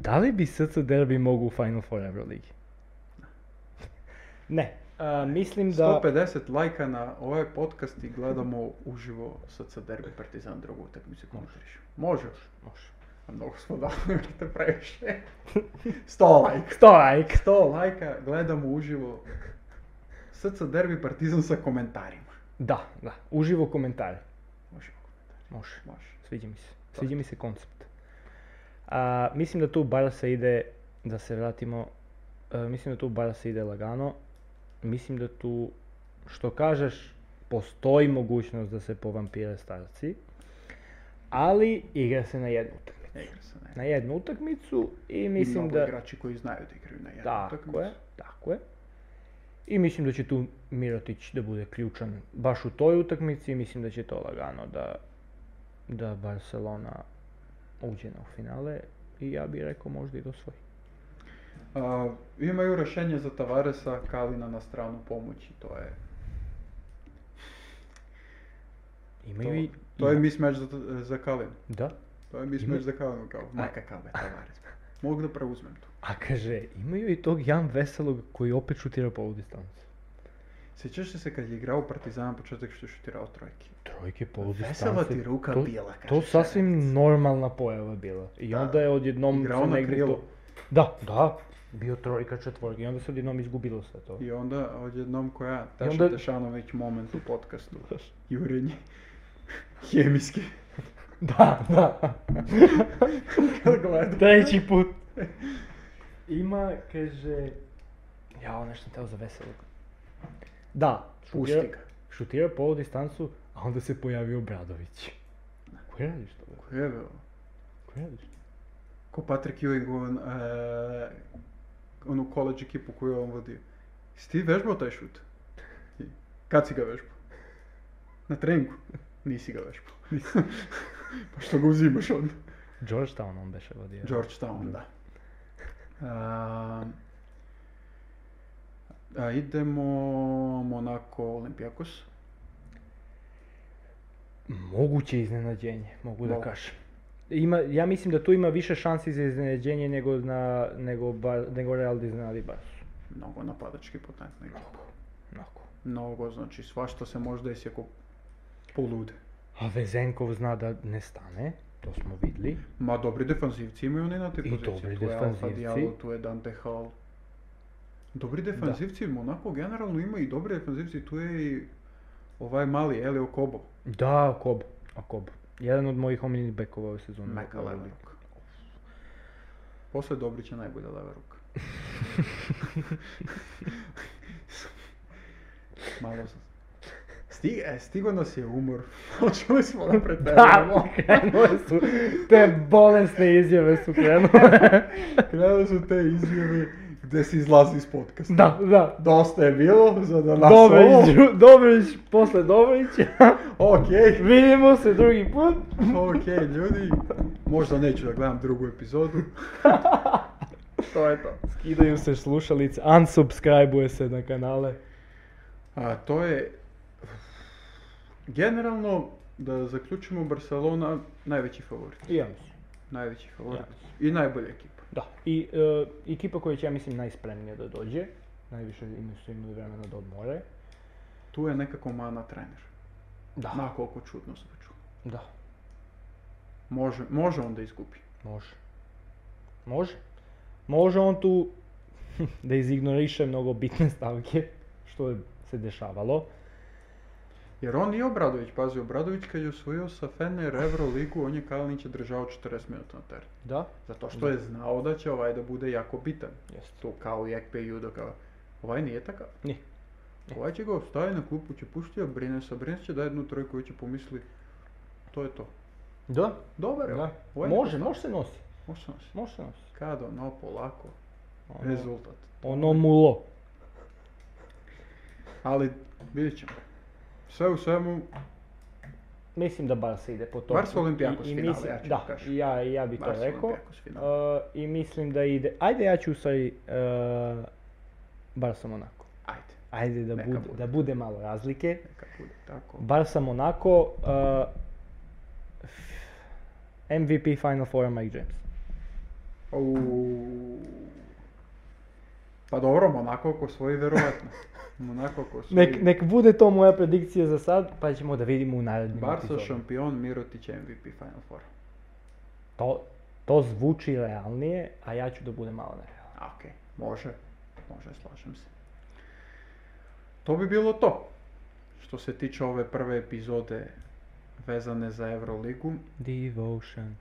Speaker 2: da li bi SC Derbi mogu u Final Four Euroligi? Ne. A, mislim da...
Speaker 1: 150 lajka na ovaj podcast i gledamo uživo SC Derbi Partizan drugu utakmicu komentariš. Možeš.
Speaker 2: Može.
Speaker 1: A mnogo smo dali, te previše. 100 lajka.
Speaker 2: Sto like.
Speaker 1: 100 lajka, gledamo uživo SC Derbi Partizan sa komentarima.
Speaker 2: Da, da. Uživo komentare.
Speaker 1: Uživo komentari,
Speaker 2: Može.
Speaker 1: može.
Speaker 2: Sviđa mi se. Sviđa mi se koncept. A, mislim da tu Barsa ide, da se vratimo, e, mislim da tu Barsa ide lagano. Mislim da tu, što kažeš, postoji mogućnost da se povampire starci. Ali igra se na jednu utakmicu.
Speaker 1: Ne igra se, ne.
Speaker 2: Na jednu utakmicu i
Speaker 1: I
Speaker 2: mislim
Speaker 1: mnogo
Speaker 2: da...
Speaker 1: igrači koji znaju da igraju na jednu
Speaker 2: Tako
Speaker 1: utakmicu.
Speaker 2: je, tako je. I mislim da će tu Mirotić da bude ključan baš u toj utakmici i mislim da će to lagano da, da Barcelona uđe na finale i ja bih rekao možda i do svoj.
Speaker 1: A, imaju rješenje za Tavaresa, Kalina na stranu pomoći, to je...
Speaker 2: Imaju i...
Speaker 1: To, to je mismatch za, za Kalinu.
Speaker 2: Da.
Speaker 1: To je mismatch za Kalinu, kao, ma kakav je Tavares. Mogu da preuzmem to.
Speaker 2: A kaže, imaju i tog Jan Veselog koji opet šutira po ovu distancu.
Speaker 1: Sjećaš li se kad je igrao u Partizana početak što je šutirao trojke?
Speaker 2: Trojke po ovu distancu.
Speaker 1: Vesela ti ruka
Speaker 2: to,
Speaker 1: bila, kaže.
Speaker 2: To
Speaker 1: Šeremet.
Speaker 2: sasvim normalna pojava bila. I
Speaker 1: Da.
Speaker 2: onda je odjednom
Speaker 1: Igrao
Speaker 2: se
Speaker 1: na
Speaker 2: negdje
Speaker 1: krilu.
Speaker 2: to... Da, da, bio trojka četvorka i onda se odjednom izgubilo sve to.
Speaker 1: I onda odjednom koja,
Speaker 2: I
Speaker 1: Taša
Speaker 2: onda-
Speaker 1: Tešanović moment u podcastu. Jurenje. Hemijski.
Speaker 2: Da, da.
Speaker 1: Kad gledam.
Speaker 2: Treći put. Ima, kaže... Ja, ono nešto sam teo za veselog. Da,
Speaker 1: Pusti
Speaker 2: šutira,
Speaker 1: ga.
Speaker 2: šutira po ovu distancu, a onda se pojavio Obradović. Koji radiš to? bre?
Speaker 1: Ko je bio?
Speaker 2: Koji radiš?
Speaker 1: Ko Patrick Ewing u on, e, onu college ekipu koju je on vodio. Jesi ti vežbao taj šut? Kad si ga vežbao? Na treningu? Nisi ga vežbao. pa što ga uzimaš onda?
Speaker 2: Georgetown on beše vodio.
Speaker 1: Georgetown, da. A, Ehm, a idemo Monaco Olympiakos.
Speaker 2: Moguće iznenađenje, mogu da
Speaker 1: Mogu.
Speaker 2: kažem. Ima, ja mislim da tu ima više šansi za iznenađenje nego, na, nego, Bar- nego Real da iznenadi Barsu.
Speaker 1: Mnogo napadački potentna ekipa.
Speaker 2: Onako.
Speaker 1: Mnogo, znači svašta se može desiti ako polude.
Speaker 2: A Vezenkov zna da ne stane, to smo vidli.
Speaker 1: Ma dobri defanzivci imaju oni na te
Speaker 2: I
Speaker 1: pozicije.
Speaker 2: dobri
Speaker 1: tu je Alfa
Speaker 2: defanzivci.
Speaker 1: Diallo, tu je Dante Hall. Dobri defanzivci, Monaco generalno ima i dobri defanzivci, tu je i ovaj mali Elio Kobo.
Speaker 2: Da, Kob. A Kob. Jedan od mojih omiljenih bekova ove sezone.
Speaker 1: Meka leva ruka. Posle Dobrića najbolja leva ruka. Malo sam. Stig, e, stigo nas je umor. Počeli smo da
Speaker 2: Da,
Speaker 1: preterujemo.
Speaker 2: krenule su, te bolesne izjave su krenule.
Speaker 1: Krenule su te izjave gde se izlazi iz podcasta.
Speaker 2: da, da.
Speaker 1: Dosta je bilo za danas ovo.
Speaker 2: Dobrić, Dobrić, posle Dobrića.
Speaker 1: Ok,
Speaker 2: Vidimo se drugi put.
Speaker 1: ok ljudi, možda neću da gledam drugu epizodu. to je to.
Speaker 2: Skidaju se slušalice, unsubscribe se na kanale.
Speaker 1: A to je, generalno, da zaključimo Barcelona, najveći favorit.
Speaker 2: I ja mislim,
Speaker 1: Najveći favorit.
Speaker 2: Ja.
Speaker 1: I najbolja ekipa.
Speaker 2: da. I e, ekipa koja će, ja mislim, najspremnija da dođe. Najviše imaju su imali vremena da odmore.
Speaker 1: Tu je nekako mana trener.
Speaker 2: Da,
Speaker 1: Na koliko čudno zvuču.
Speaker 2: da,
Speaker 1: Može, može onda izgubi.
Speaker 2: može. Može. Može on tu da izignoriše mnogo bitne stavke, što je se dešavalo.
Speaker 1: Jer on nije Obradović, pazi, Obradović kad je osvojio sa Fener Euroligu, on je Kalinića držao 40 minuta na terenu.
Speaker 2: Da,
Speaker 1: Zato što je znao da će ovaj da bude jako bitan.
Speaker 2: jeste.
Speaker 1: To kao i Ekpe i Udo kao, ovaj nije takav.
Speaker 2: Nije.
Speaker 1: Ovaj će ga ostavi na klupu, će pušti, a Brines, a Brines će da jednu trojku i će pomisli, to je to.
Speaker 2: Da,
Speaker 1: Dobar je
Speaker 2: da.
Speaker 1: ovaj. ovaj je
Speaker 2: Može,
Speaker 1: dobar.
Speaker 2: može se nosi.
Speaker 1: Može se nosi.
Speaker 2: Može se nosi.
Speaker 1: Kad ono polako,
Speaker 2: Ono-
Speaker 1: rezultat.
Speaker 2: Ono mulo.
Speaker 1: Ali vidjet ćemo. Sve u svemu,
Speaker 2: Mislim da Barca ide po to.
Speaker 1: Barca Olympiakos finale, ja ću
Speaker 2: da,
Speaker 1: kažem.
Speaker 2: i ja, i ja bi to
Speaker 1: Barca
Speaker 2: rekao.
Speaker 1: Olympiakos finale.
Speaker 2: Uh, I mislim da ide, ajde ja ću ustvari uh, Barca Monaco.
Speaker 1: ajde,
Speaker 2: Ajde da,
Speaker 1: Neka
Speaker 2: bude,
Speaker 1: bude.
Speaker 2: da bude malo razlike.
Speaker 1: neka bude tako.
Speaker 2: Barca Monaco, uh, MVP Final Four Mike James.
Speaker 1: Au. Pa dobro, Monako ako svoji vjerovatno. Monako ako svoji.
Speaker 2: Nek, nek bude to moja predikcija za sad, pa ćemo da vidimo u narednim
Speaker 1: Barca
Speaker 2: epizodama.
Speaker 1: šampion, Mirotić MVP Final Four.
Speaker 2: To, to zvuči realnije, a ja ću da budem malo nerealan.
Speaker 1: A, Okej, može, može, slažem se. To bi bilo to. Što se tiče ove prve epizode vezane za Euroligu.
Speaker 2: Devotion.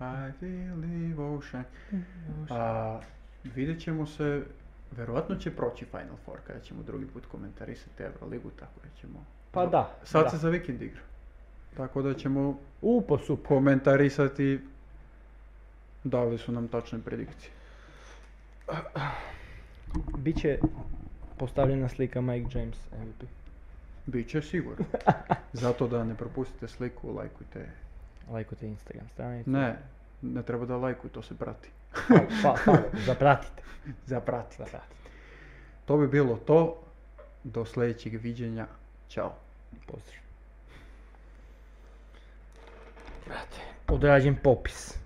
Speaker 1: I believe ocean. A, vidjet ćemo se, verovatno će proći Final Four kada ćemo drugi put komentarisati Euroligu, tako da ćemo...
Speaker 2: Pa da,
Speaker 1: Sad
Speaker 2: da.
Speaker 1: se za vikend igra. Tako da ćemo
Speaker 2: U, pa super.
Speaker 1: komentarisati da li su nam tačne predikcije.
Speaker 2: Biće postavljena slika Mike James MVP.
Speaker 1: Biće sigurno. Zato da ne propustite sliku, lajkujte.
Speaker 2: Lajkujte Instagram stranicu.
Speaker 1: Ne, ne treba da lajkuj, to se prati.
Speaker 2: Fal- fal- fal- zapratite.
Speaker 1: Zaprati.
Speaker 2: Zapratite.
Speaker 1: To bi bilo to. Do sljedećeg viđenja. Ćao.
Speaker 2: Pozdrav. Brate, odrađen popis.